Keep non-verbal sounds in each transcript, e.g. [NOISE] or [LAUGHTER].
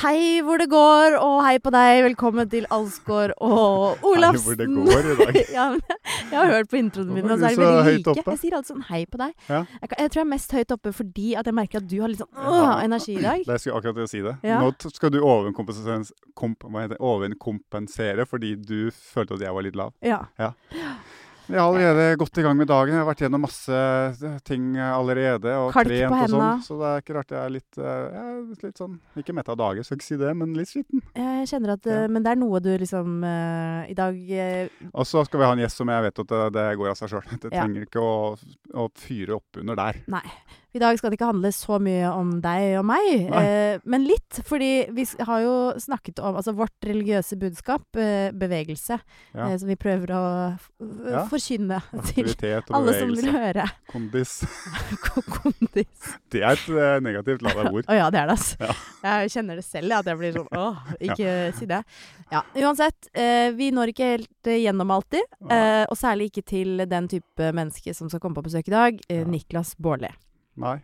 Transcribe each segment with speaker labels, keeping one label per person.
Speaker 1: hei hvor det går, og hei på deg. Velkommen til Alsgaard og
Speaker 2: Hei, hvor det
Speaker 1: Olafsen.
Speaker 2: går i dag.
Speaker 1: [LAUGHS] ja, men jeg har hørt på introene mine, og så
Speaker 2: Oi,
Speaker 1: er de
Speaker 2: så
Speaker 1: veldig
Speaker 2: høyt
Speaker 1: like.
Speaker 2: oppe.
Speaker 1: Jeg sier alltid sånn hei på deg.
Speaker 2: Ja.
Speaker 1: Jeg, kan, jeg tror jeg er mest høyt oppe fordi at jeg merker at du har litt sånn
Speaker 2: Ja.
Speaker 1: åh, energi i dag.
Speaker 2: Jeg skulle akkurat til å si det.
Speaker 1: Ja.
Speaker 2: Nå t- skal du overkompensere, komp, hva heter det? overkompensere fordi du følte at jeg var litt lav.
Speaker 1: Ja.
Speaker 2: Jeg er allerede godt i gang med dagen. Jeg har vært gjennom masse eh, ting allerede. Og
Speaker 1: Kalk på
Speaker 2: trent og
Speaker 1: hendene.
Speaker 2: sånn. Så det er ikke rart jeg er litt, eh, jeg er litt sånn Ikke mett av dage, skal ikke si det, men litt sliten.
Speaker 1: Jeg kjenner at eh, Men det er noe du liksom eh, I dag eh,
Speaker 2: Og så skal vi ha en gjest som jeg vet at det, det går av seg sjøl. Det
Speaker 1: Ja.
Speaker 2: trenger ikke å, å fyre oppunder
Speaker 1: [LAUGHS]
Speaker 2: der.
Speaker 1: I dag skal det ikke handle så mye om deg og meg,
Speaker 2: Nei.
Speaker 1: eh, men litt. Fordi vi s- har jo snakket om altså vårt religiøse budskap, eh, bevegelse,
Speaker 2: Ja.
Speaker 1: eh, som vi prøver å f f-
Speaker 2: Ja.
Speaker 1: forkynne til
Speaker 2: Aktivitet og
Speaker 1: alle som vil
Speaker 2: bevegelse.
Speaker 1: høre.
Speaker 2: Kondis. [LAUGHS]
Speaker 1: Ko- Kondis.
Speaker 2: Det er et eh, negativt lada
Speaker 1: [LAUGHS]
Speaker 2: ord.
Speaker 1: Å ja, det er det, altså.
Speaker 2: Ja.
Speaker 1: Jeg kjenner det selv, jeg, at jeg blir sånn åh, ikke si det. Ja, Uansett, eh, vi når ikke helt eh, gjennom alltid. eh, og særlig ikke til den type menneske som skal komme på besøk i dag, eh,
Speaker 2: Ja.
Speaker 1: Niklas Baarli.
Speaker 2: Nei.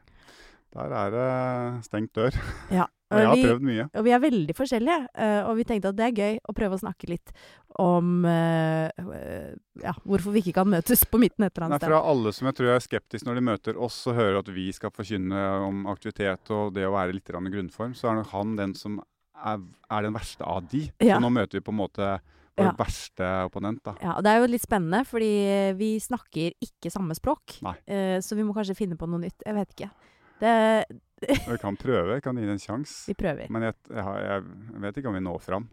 Speaker 2: Der er det stengt dør.
Speaker 1: Ja.
Speaker 2: Og jeg har
Speaker 1: Vi-
Speaker 2: prøvd mye.
Speaker 1: Og vi er veldig forskjellige, eh, og vi tenkte at det er gøy å prøve å snakke litt om eh, eh, ja, hvorfor vi ikke kan møtes på midten et eller
Speaker 2: Nei,
Speaker 1: annet sted.
Speaker 2: fra alle som jeg tror er skeptiske når de møter oss og hører at vi skal forkynne om aktivitet og det å være litt grann i grunnform, så er nok han den som er, er den verste av de.
Speaker 1: Ja.
Speaker 2: Så nå møter vi på en måte vår
Speaker 1: Ja.
Speaker 2: verste opponent, da.
Speaker 1: Ja, og det er jo litt spennende, fordi vi snakker ikke samme språk.
Speaker 2: Nei.
Speaker 1: eh, så vi må kanskje finne på noe nytt. Jeg vet ikke. Det,
Speaker 2: Og Vi kan prøve, vi kan gi det en sjanse.
Speaker 1: vi prøver.
Speaker 2: Men jeg, jeg, har- jeg vet ikke om vi når fram.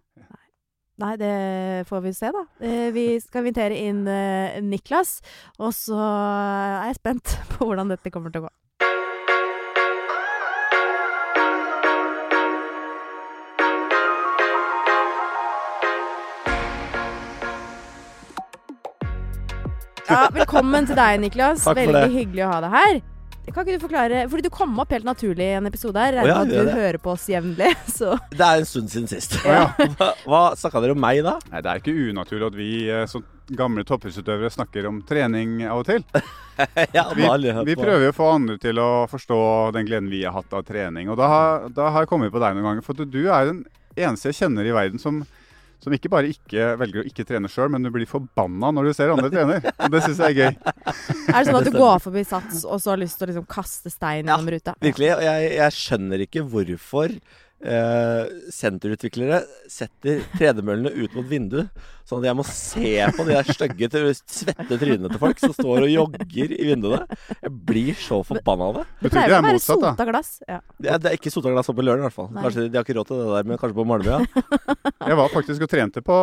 Speaker 1: Nei, det får vi se, da. Eh, vi skal invitere inn eh, Niklas, og så er jeg spent [LAUGHS] på hvordan dette kommer til å gå. Ja, velkommen til deg, Niklas.
Speaker 3: Takk for
Speaker 1: Veldig
Speaker 3: det.
Speaker 1: hyggelig å ha deg her. Kan ikke du forklare, fordi du kom opp helt naturlig i en episode her.
Speaker 3: Å ja,
Speaker 1: Regner med
Speaker 3: gjør
Speaker 1: at du
Speaker 3: det.
Speaker 1: hører på oss jevnlig. [LAUGHS] Så
Speaker 3: Det er en stund siden sist.
Speaker 2: Ja.
Speaker 3: [LAUGHS] Hva, hva snakka dere om meg da? [LAUGHS]
Speaker 2: Nei, det er ikke unaturlig at vi eh, som gamle toppidrettsutøvere snakker om trening av og til.
Speaker 3: Ja,
Speaker 2: Vi,
Speaker 3: da har jeg hørt
Speaker 2: vi
Speaker 3: på-
Speaker 2: prøver jo å få andre til å forstå den gleden vi har hatt av trening. Og da har, da har jeg kommet på deg noen ganger. For at du er den eneste jeg kjenner i verden som, som ikke bare ikke velger å ikke trene sjøl, men du blir forbanna når du ser andre trener. Og det syns jeg er
Speaker 3: [LAUGHS]
Speaker 2: gøy.
Speaker 1: er det sånn at du
Speaker 3: Det
Speaker 1: går forbi Sats, og så har lyst til å liksom kaste stein
Speaker 3: Ja,
Speaker 1: gjennom ruta?
Speaker 3: Virkelig. Og jeg, jeg skjønner ikke hvorfor eh, senterutviklere setter tredemøllene ut mot vinduet, sånn at jeg må se på de der stygge, tr- svette trynene til folk som står og jogger i vinduene. Jeg blir så forbanna av det.
Speaker 2: Du tror ikke det er motsatt, da?
Speaker 1: sota glass. Ja.
Speaker 3: Det er, det er ikke sotaglass oppe på Løren i hvert fall.
Speaker 1: Nei.
Speaker 3: Kanskje De har ikke råd til det der, men kanskje på Malmøya.
Speaker 2: Jeg var faktisk og trente på,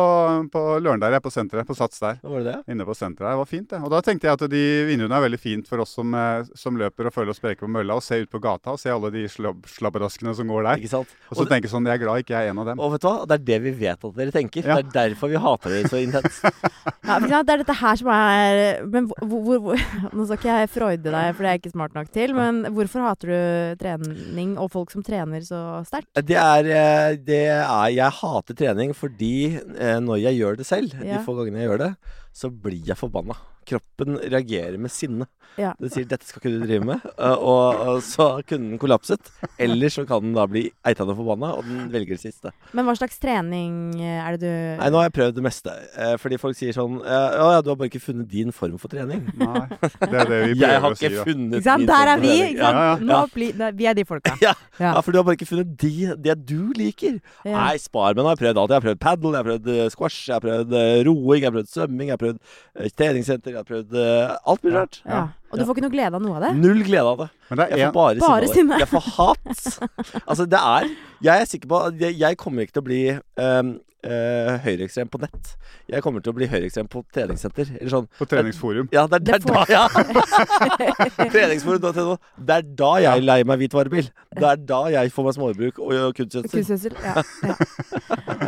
Speaker 2: på Løren der, jeg, på senteret, på Sats der.
Speaker 3: Da var det det.
Speaker 2: Inne på senteret her, Det var fint det. Og da tenkte jeg at de vinduene er veldig fint for oss som, eh, som løper og føler oss spreke på mølla, og se ut på gata og se alle de slabb, slabberaskene som går der.
Speaker 3: Ikke sant?
Speaker 2: Og så
Speaker 3: Og-
Speaker 2: tenker jeg sånn, jeg er glad ikke jeg er en av dem.
Speaker 3: Og vet du hva? Det er det vi vet at dere tenker.
Speaker 2: Ja.
Speaker 3: Det er derfor vi hater dere så intenst.
Speaker 1: Ja, ikke sant? det er dette her som er Men hvor, hvor, hvor [LAUGHS] Nå skal ikke jeg freude deg, for det er jeg ikke smart nok til, men hvorfor hater du trening og folk som trener så sterkt?
Speaker 3: Det er, eh, det er Jeg hater trening fordi eh, når jeg gjør det selv,
Speaker 1: Ja.
Speaker 3: de få gangene jeg gjør det, så blir jeg forbanna. Kroppen reagerer med sinne.
Speaker 1: Ja.
Speaker 3: Den sier 'dette skal ikke du drive med', [LAUGHS] eh, og, og så kunne den kollapset. Eller så kan den da bli eitende forbanna, og den velger det siste.
Speaker 1: Men hva slags trening er det du
Speaker 3: Nei, nå har jeg prøvd det meste. eh, Fordi folk sier sånn eh, 'Å ja, du har bare ikke funnet din form for trening'.
Speaker 2: Nei, det er det vi
Speaker 3: Jeg
Speaker 2: prøver
Speaker 3: har
Speaker 2: å si. da.
Speaker 3: ikke funnet
Speaker 1: Ikke sant?
Speaker 3: min
Speaker 1: Der
Speaker 3: form
Speaker 1: er
Speaker 3: for
Speaker 1: vi!
Speaker 3: trening.
Speaker 1: Ikke
Speaker 3: sånn Ja.
Speaker 1: sant?
Speaker 2: Ja, ja,
Speaker 1: Nå
Speaker 3: ja.
Speaker 1: blir, nei, vi er de
Speaker 3: [LAUGHS]
Speaker 1: folka.
Speaker 3: Ja.
Speaker 1: Ja.
Speaker 3: Ja, for du har bare ikke funnet de, det du liker.
Speaker 1: Ja.
Speaker 3: Nei, spar meg nå. Jeg har prøvd alt. Jeg har prøvd padel, jeg har prøvd eh, squash, jeg har prøvd eh, roing, jeg har prøvd svømming, jeg har prøvd eh, treningssenter, jeg har prøvd eh, alt mulig rart.
Speaker 1: Ja. Og du får ikke noe glede av noe av det?
Speaker 3: Null glede av det.
Speaker 2: Men det er
Speaker 3: Jeg
Speaker 2: en,
Speaker 3: får bare,
Speaker 1: Bare
Speaker 3: sinne.
Speaker 1: sinne.
Speaker 3: av det. Jeg får hat.
Speaker 1: [LAUGHS]
Speaker 3: Altså, det er Jeg er sikker på at jeg, jeg kommer ikke til å bli um, eh, høyreekstrem på nett. Jeg kommer til å bli høyreekstrem på treningssenter. Eller sånn
Speaker 2: på treningsforum.
Speaker 3: Ja, det er, det er
Speaker 1: Det får- [LAUGHS]
Speaker 3: da ja. Treningsforum.no. Det er da jeg leier meg hvit varebil. Det er da jeg får meg småbruk og og kunstgjødsel.
Speaker 1: Kunstgjødsel? Ja. ja.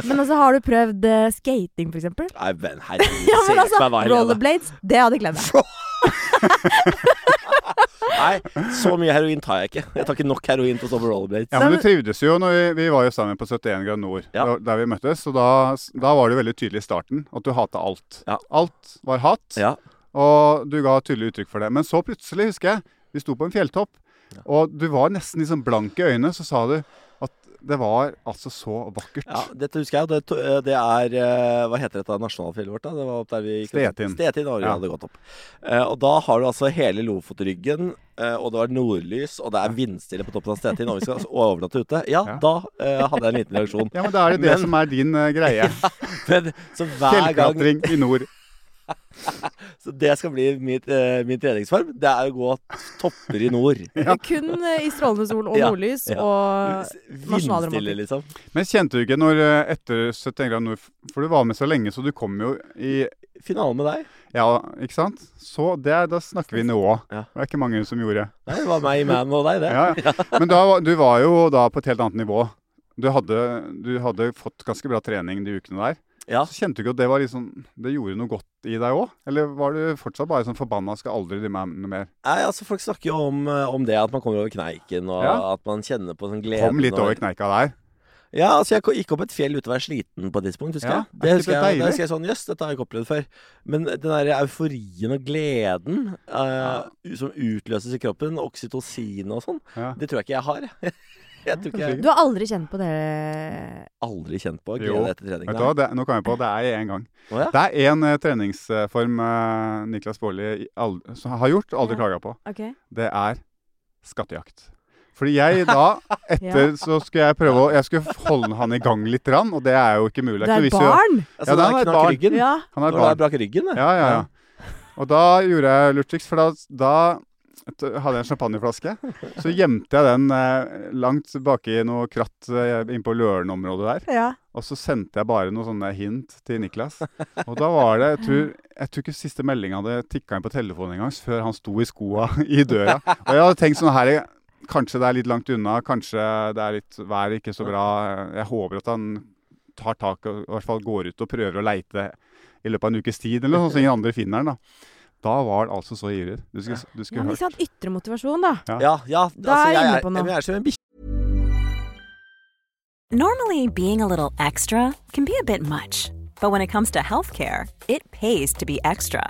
Speaker 1: Men altså, har du prøvd eh, skating, for eksempel?
Speaker 3: Nei, men herregud,
Speaker 1: [LAUGHS] Ja,
Speaker 3: se
Speaker 1: men
Speaker 3: på
Speaker 1: altså,
Speaker 3: meg hva jeg gjør.
Speaker 1: rollerblades, det hadde kledd deg.
Speaker 3: Nei, så mye heroin tar jeg ikke. Jeg tar ikke nok heroin til å stå på rollerblades.
Speaker 2: Ja, men Du trivdes jo når vi, vi var jo sammen på 71 grad nord,
Speaker 3: Ja.
Speaker 2: da- der vi møttes. Og da, da var det jo veldig tydelig i starten at du hata alt.
Speaker 3: Ja.
Speaker 2: Alt var hat,
Speaker 3: Ja.
Speaker 2: og du ga tydelig uttrykk for det. Men så plutselig, sånn husker jeg, vi sto på en fjelltopp, og du var nesten liksom blank i øynene, så sa du at det var altså så vakkert.
Speaker 3: Ja, dette husker jeg. og Det, to- eh, det er eh, Hva heter dette nasjonalfjellet vårt? da? Det var opp der vi gikk
Speaker 2: Stetin.
Speaker 3: Stetin var det vi
Speaker 2: Ja.
Speaker 3: hadde gått opp. Eh, og da har du altså hele Lofotryggen, eh, og det var nordlys, og det er vindstille på toppen av Stetin, og vi skal altså overnatte ute. Ja,
Speaker 2: Ja.
Speaker 3: da eh, hadde jeg en liten reaksjon.
Speaker 2: Ja, men da er det det
Speaker 3: Men-
Speaker 2: som er din eh, greie.
Speaker 3: [LAUGHS] Men, så hver gang
Speaker 2: Fjellklatring i nord.
Speaker 3: Så det skal bli mitt, eh, min treningsform. Det er å gå topper
Speaker 2: [LAUGHS]
Speaker 3: i nord.
Speaker 1: [LAUGHS] Kun eh, i strålende sol og
Speaker 3: Ja,
Speaker 1: nordlys
Speaker 3: ja.
Speaker 1: og
Speaker 3: Vindstille,
Speaker 1: nasjonalromantikk.
Speaker 3: liksom.
Speaker 2: Men kjente du ikke når eh, etter 70 grader nord For du var med så lenge, så du kom jo i
Speaker 3: Finalen med deg.
Speaker 2: Ja, ikke sant? Så det, er- da snakker vi nå.
Speaker 3: Ja.
Speaker 2: Det er ikke mange som gjorde.
Speaker 3: Nei, det var meg, man og deg, det.
Speaker 2: Ja. ja. Men da, var- du var jo da på et helt annet nivå. Du hadde, du hadde fått ganske bra trening de ukene der.
Speaker 3: Ja.
Speaker 2: Så kjente du ikke at det var liksom, det gjorde noe godt i deg òg? Eller var du fortsatt bare sånn forbanna, skal aldri drive med noe mer?
Speaker 3: Nei, altså Folk snakker jo om, eh, om det at man kommer over kneiken, og
Speaker 2: Ja.
Speaker 3: at man kjenner på sånn glede.
Speaker 2: Kom litt over kneika der.
Speaker 3: Ja, altså jeg ko- gikk opp et fjell uten å være sliten på et tidspunkt, husker
Speaker 2: Ja, er
Speaker 3: jeg. Det
Speaker 2: ikke
Speaker 3: husker
Speaker 2: det
Speaker 3: jeg,
Speaker 2: deilig?
Speaker 3: da husker jeg sånn, Jøss, dette har jeg ikke opplevd før. Men den der euforien og gleden eh, u- som utløses i kroppen, oksytocin og sånn,
Speaker 2: Ja.
Speaker 3: det tror jeg ikke jeg [LAUGHS] har. jeg. Jeg tror ikke jeg
Speaker 1: Du har aldri kjent på det
Speaker 3: aldri kjent på
Speaker 2: Jo.
Speaker 3: glede etter trening.
Speaker 2: Vet du
Speaker 3: nei.
Speaker 2: hva, det, nå kom jeg på, det er én gang.
Speaker 3: Å, ja.
Speaker 2: Det er én eh, treningsform eh, Niklas Baarli i all- som har gjort, aldri
Speaker 1: Ja.
Speaker 2: klaga på.
Speaker 1: OK.
Speaker 2: Det er skattejakt. Fordi jeg da, etter så skulle jeg prøve å Jeg skulle holde han i gang litt, rann, og det er jo ikke mulig.
Speaker 1: Du
Speaker 2: Det er
Speaker 1: er
Speaker 2: ikke noe vits i å-
Speaker 1: barn?
Speaker 3: Altså,
Speaker 2: Ja, da
Speaker 3: da
Speaker 2: var jeg et
Speaker 3: knakk
Speaker 2: barn.
Speaker 3: ryggen.
Speaker 1: Ja.
Speaker 2: Han er
Speaker 3: Da var jeg
Speaker 2: barn.
Speaker 3: brakk ryggen, jeg.
Speaker 2: Ja, ja, ja. Og da gjorde jeg lurt triks, for da, da t- hadde jeg en champagneflaske. Så gjemte jeg den eh, langt baki noe kratt eh, innpå Løren-området der.
Speaker 1: ja.
Speaker 2: Og så sendte jeg bare noen sånne hint til Niklas. Og da var det Jeg tror, jeg tror ikke siste melding hadde tikka inn på telefonen engang før han sto i skoa [LAUGHS] i døra. Og jeg hadde tenkt sånn her Kanskje det er litt langt unna, kanskje det er litt været ikke så bra. Jeg håper at han tar tak og i hvert fall går ut og prøver å leite i løpet av en ukes tid, eller noe sånt, så ingen andre finner den. Da Da var han altså så ivrig. Du skulle, du
Speaker 1: Ja,
Speaker 2: skulle
Speaker 1: men
Speaker 2: hørt.
Speaker 1: ikke sant. Ytre motivasjon, da.
Speaker 3: Ja, ja.
Speaker 1: Da er jeg inne på noe.
Speaker 3: men Jeg er som en bikkje.
Speaker 4: Normally, being a little extra can be a bit much, but when it comes to healthcare, it pays to be extra.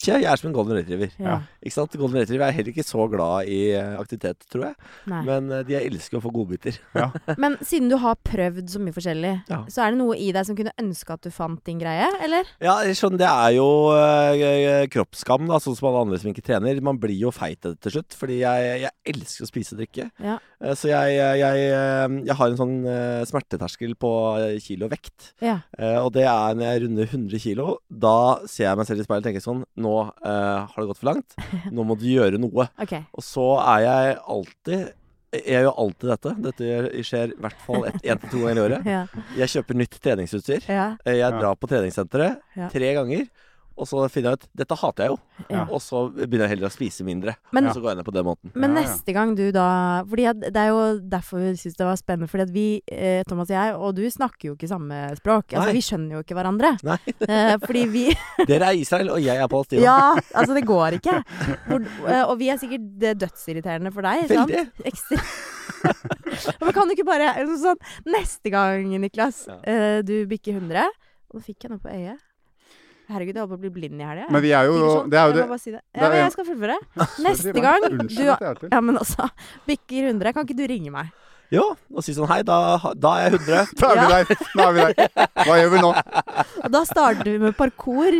Speaker 3: Jeg er som en golden retriever.
Speaker 1: Ja.
Speaker 3: Ikke sant? Golden retriever er heller ikke så glad i eh, aktivitet, tror jeg.
Speaker 1: Nei.
Speaker 3: Men eh, de elsker å få godbiter.
Speaker 1: Men siden du har prøvd så mye forskjellig,
Speaker 3: Ja.
Speaker 1: så er det noe i deg som kunne ønske at du fant din greie, eller?
Speaker 3: Ja, sånn, det er jo eh, kroppsskam, da, sånn som alle andre som ikke trener. Man blir jo feit eh, til slutt, fordi jeg, jeg elsker å spise og drikke.
Speaker 1: Ja.
Speaker 3: Eh, Så jeg, jeg, eh, jeg har en sånn eh, smerteterskel på eh, kilo vekt.
Speaker 1: Ja.
Speaker 3: Eh, Og det er når jeg runder 100 kilo, da ser jeg meg selv i speilet og tenker sånn Nå eh, har det gått for
Speaker 1: [LAUGHS]
Speaker 3: langt. Nå må du gjøre noe.
Speaker 1: OK.
Speaker 3: Og så er jeg alltid jeg gjør alltid dette. Dette gjør- skjer i hvert fall ett- én til to ganger i året.
Speaker 1: [LAUGHS] Ja.
Speaker 3: Jeg kjøper nytt treningsutstyr.
Speaker 1: Ja.
Speaker 3: Eh, Jeg
Speaker 2: Ja.
Speaker 3: drar på treningssenteret
Speaker 1: Ja.
Speaker 3: tre ganger. Og så finner jeg ut Dette hater jeg jo.
Speaker 1: Ja.
Speaker 3: Og så begynner jeg heller å spise mindre.
Speaker 1: Men-
Speaker 3: og så går jeg ned på den måten.
Speaker 1: Men
Speaker 2: Ja, ja.
Speaker 1: neste gang du da Fordi at det er jo derfor vi syns det var spennende. Fordi at vi, eh, Thomas og jeg, og du snakker jo ikke samme språk. Altså,
Speaker 3: Nei.
Speaker 1: vi skjønner jo ikke hverandre.
Speaker 3: Nei,
Speaker 1: Eh, fordi vi
Speaker 3: dere er Israel, og jeg er Palestina.
Speaker 1: Ja, altså det går ikke. Hvor, eh, og vi er sikkert det dødsirriterende for deg. Sant?
Speaker 3: Veldig.
Speaker 1: Ekstra- [LAUGHS] Men kan du ikke bare eller sånn, Neste gang, Niklas,
Speaker 3: Ja.
Speaker 1: eh, du bikker 100 Og nå fikk jeg noe på øyet. Herregud, jeg holdt på å bli blind i helga. jeg.
Speaker 2: Men vi er jo
Speaker 1: Bikker sånn,
Speaker 2: Det er jo
Speaker 1: jeg
Speaker 2: det
Speaker 1: må bare si det.
Speaker 2: det er
Speaker 1: Ja, men
Speaker 2: jo-
Speaker 1: jeg skal
Speaker 2: [LAUGHS]
Speaker 1: fullføre.
Speaker 2: Sorry,
Speaker 1: Neste
Speaker 2: men-
Speaker 1: gang
Speaker 2: Unnskyld
Speaker 1: du-
Speaker 2: at jeg er til.
Speaker 1: Ja, men altså, bikker 100, kan ikke du ringe meg?
Speaker 3: Jo, og si sånn Hei, da, da er jeg 100.
Speaker 2: Da er vi der! Nå er vi der. Hva gjør vi nå?
Speaker 1: Og da starter vi med parkour.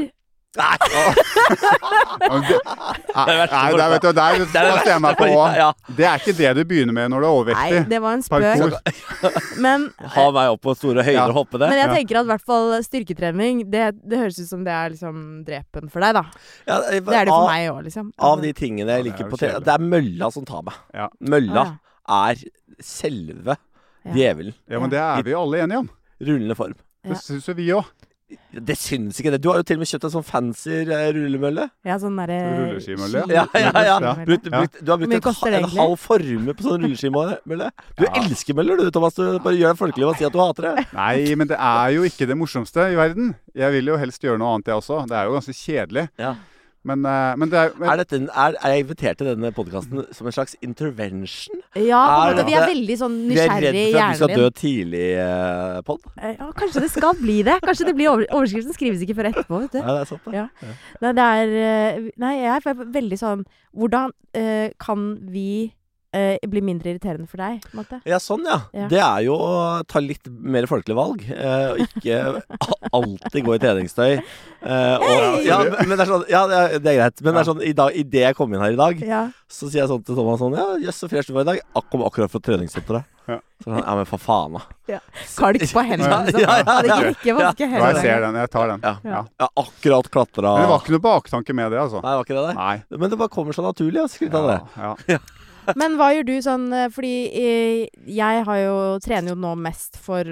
Speaker 3: Nei,
Speaker 2: [LAUGHS] Ja, men det-
Speaker 3: [LAUGHS] det verste
Speaker 2: Nei, der, vet du, der
Speaker 3: [LAUGHS]
Speaker 2: passer jeg meg på
Speaker 3: Ja, ja.
Speaker 2: Det er ikke det du begynner med når du er
Speaker 1: Nei,
Speaker 2: overvektig.
Speaker 1: det var en spøk.
Speaker 2: Parkour.
Speaker 1: Men
Speaker 3: ha meg opp på store høyder
Speaker 2: Ja.
Speaker 3: og hoppe det.
Speaker 1: Men jeg
Speaker 2: Ja.
Speaker 1: tenker at i hvert fall styrketrening det, det høres ut som det er liksom drepen for deg, da.
Speaker 3: Ja, eh,
Speaker 1: Det er det for
Speaker 3: av-
Speaker 1: meg òg, liksom.
Speaker 3: Av de tingene jeg
Speaker 2: Ja, det er
Speaker 3: liker
Speaker 2: jo
Speaker 3: på TV,
Speaker 2: kjedelig.
Speaker 3: det er mølla som tar meg.
Speaker 2: Ja.
Speaker 3: Mølla
Speaker 1: Ah,
Speaker 3: er selve
Speaker 1: Ja.
Speaker 3: djevelen.
Speaker 2: Ja, men det er vi jo alle enige om.
Speaker 3: Rullende form.
Speaker 2: Det syns jo vi òg.
Speaker 3: Det syns ikke det. Du har jo til og med kjøpt en sånn fancy eh, rullemølle.
Speaker 1: Ja, sånn derre
Speaker 2: Rulleskimølle,
Speaker 3: Ja, ja, ja.
Speaker 1: Rulleskimølle.
Speaker 3: Brukt, brukt, du har
Speaker 1: Hvor
Speaker 3: brukt
Speaker 1: mye
Speaker 3: en,
Speaker 1: koster det
Speaker 3: ha- en
Speaker 1: egentlig?
Speaker 3: halv formue på sånn rulleskimølle. Du
Speaker 2: Ja.
Speaker 3: elsker møller, du, Thomas. Du bare gjør deg folkelig og si at du hater det.
Speaker 2: Nei, men det er jo ikke det morsomste i verden. Jeg vil jo helst gjøre noe annet, jeg også. Det er jo ganske kjedelig. Men, eh, men det er, men,
Speaker 3: Er, dette, en- er, er jeg invitert til denne podkasten som en slags intervention?
Speaker 1: Ja, på en
Speaker 3: Er
Speaker 1: måte. Vi er
Speaker 3: det-
Speaker 1: veldig sånn
Speaker 3: Vi er
Speaker 1: nysgjerrige
Speaker 3: redd
Speaker 1: i
Speaker 3: for at du
Speaker 1: hjernen
Speaker 3: skal
Speaker 1: din.
Speaker 3: dø tidlig, eh, Pod.
Speaker 1: Eh, Ja, kanskje det skal bli det. Kanskje det blir over Overskriften skrives ikke før etterpå, vet du.
Speaker 3: Ja, det er sant, det.
Speaker 1: Ja. Nei, det er eh, Nei, jeg er veldig sånn Hvordan eh, kan vi eh, bli mindre irriterende for deg, på en
Speaker 3: [LAUGHS]
Speaker 1: måte?
Speaker 3: Ja, sånn, ja.
Speaker 1: Ja.
Speaker 3: Det er jo å ta litt mer folkelige valg. eh, Og ikke [LAUGHS] a- alltid gå i treningstøy. Eh, og, ja, men men det er sånn, ja, det er, det er greit. Men det er sånn, i dag, idet jeg kom inn her i dag,
Speaker 1: Ja.
Speaker 3: så sier jeg sånn til Thomas sånn Ja, jøss, så fresh du var i dag. Jeg kom akkurat fra treningssenteret.
Speaker 2: Ja.
Speaker 3: Så han, ja, men for faen, da.
Speaker 1: Kalk på hendene, liksom.
Speaker 3: Ja, ja, ja, ja.
Speaker 1: Det gikk ikke vaske
Speaker 2: ja, jeg ser
Speaker 1: hendene.
Speaker 2: den. Jeg tar den.
Speaker 3: Ja.
Speaker 2: Ja.
Speaker 3: Jeg har akkurat klatra
Speaker 2: Men det var ikke noe baktanke med det, altså.
Speaker 3: Nei, det var ikke det der.
Speaker 2: Nei.
Speaker 3: Men det bare kommer så naturlig. Jeg skryter av det.
Speaker 2: Ja,
Speaker 1: Men hva gjør du sånn eh, Fordi eh, jeg har jo, trener jo nå mest for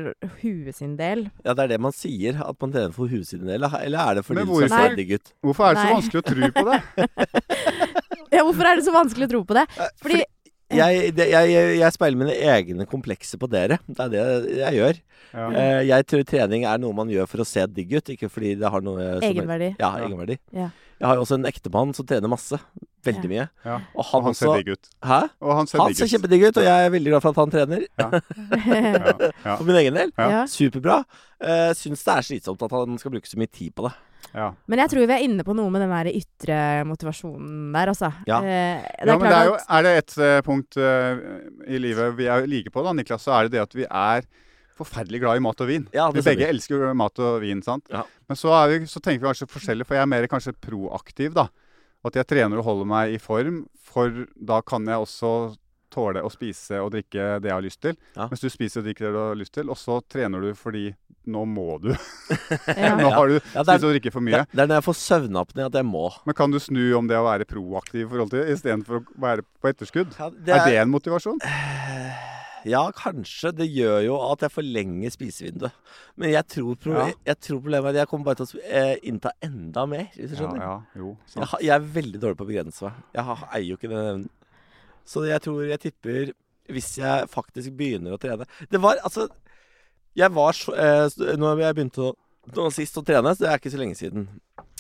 Speaker 1: huet sin del.
Speaker 3: Ja, det er det man sier. At man trener for huet sitt en del. Eller er det fordi
Speaker 2: Men
Speaker 3: du ser
Speaker 1: hvorfor-
Speaker 3: så digg ut?
Speaker 2: Hvorfor er det så
Speaker 1: Nei.
Speaker 2: vanskelig å tro på
Speaker 3: [LAUGHS]
Speaker 2: det?
Speaker 1: Ja, hvorfor er det så vanskelig å tro på det? Fordi
Speaker 3: Jeg, det, jeg, jeg, jeg speiler mine egne komplekser på dere. Det er det jeg gjør.
Speaker 2: Ja.
Speaker 3: Eh, jeg tror trening er noe man gjør for å se digg ut, ikke fordi det har noe som-
Speaker 1: egenverdi.
Speaker 3: Ja,
Speaker 2: Ja.
Speaker 3: egenverdi.
Speaker 1: Ja.
Speaker 3: Jeg har jo også en ektemann som trener masse. Veldig mye.
Speaker 2: Ja.
Speaker 3: Og han,
Speaker 2: Og han ser
Speaker 3: også
Speaker 2: digg ut.
Speaker 3: Hæ?
Speaker 2: Og han ser
Speaker 3: Han
Speaker 2: digg
Speaker 3: ser
Speaker 2: ut.
Speaker 3: kjempedigg ut, og jeg er veldig glad for at han trener.
Speaker 1: [LAUGHS]
Speaker 2: Ja. Ja.
Speaker 3: For min egen del.
Speaker 2: Ja.
Speaker 1: Ja.
Speaker 3: Superbra. Uh, Syns det er slitsomt at han skal bruke så mye tid på det.
Speaker 2: Ja.
Speaker 1: Men jeg tror vi er inne på noe med den der ytre motivasjonen der, altså.
Speaker 3: Ja.
Speaker 1: Eh,
Speaker 2: Ja, men det
Speaker 1: klart
Speaker 2: er, jo,
Speaker 1: at-
Speaker 2: er det et eh, punkt eh, i livet vi er like på, da, Niklas, så er det det at vi er forferdelig glad i mat og vin.
Speaker 3: Ja,
Speaker 2: vi
Speaker 3: det
Speaker 2: begge
Speaker 3: stemmer.
Speaker 2: elsker jo mat og vin, sant?
Speaker 3: Ja.
Speaker 2: Men så, er vi, så tenker vi kanskje forskjellig, for jeg er mer kanskje proaktiv, da. At jeg trener og holder meg i form, for da kan jeg også tåle å spise og drikke det jeg har lyst til.
Speaker 3: Ja.
Speaker 2: Mens du spiser og drikker det du har lyst til, og så trener du fordi nå må du.
Speaker 1: ja.
Speaker 2: [LAUGHS] nå har du
Speaker 3: Ja, det,
Speaker 2: spist
Speaker 3: er,
Speaker 2: og drikket for
Speaker 3: det,
Speaker 2: mye.
Speaker 3: det er når jeg får søvnapné at jeg må.
Speaker 2: Men kan du snu om det å være proaktiv i forhold til det, istedenfor å være på etterskudd?
Speaker 3: Ja, det
Speaker 2: Er det en motivasjon?
Speaker 3: Eh, Ja, kanskje. Det gjør jo at jeg forlenger spisevinduet. Men jeg tror, pro
Speaker 2: Ja.
Speaker 3: jeg, jeg tror problemet er at jeg kommer bare til å sp- eh, innta enda mer, hvis du skjønner.
Speaker 2: Ja, ja, jo, sant.
Speaker 3: Jeg, har- jeg er veldig dårlig på å begrense meg. Jeg har, eier jo ikke den evnen. Så jeg tror jeg tipper Hvis jeg faktisk begynner å trene Det var altså Jeg var så eh, s- Når jeg begynte å, nå sist å trene, så det er ikke så lenge siden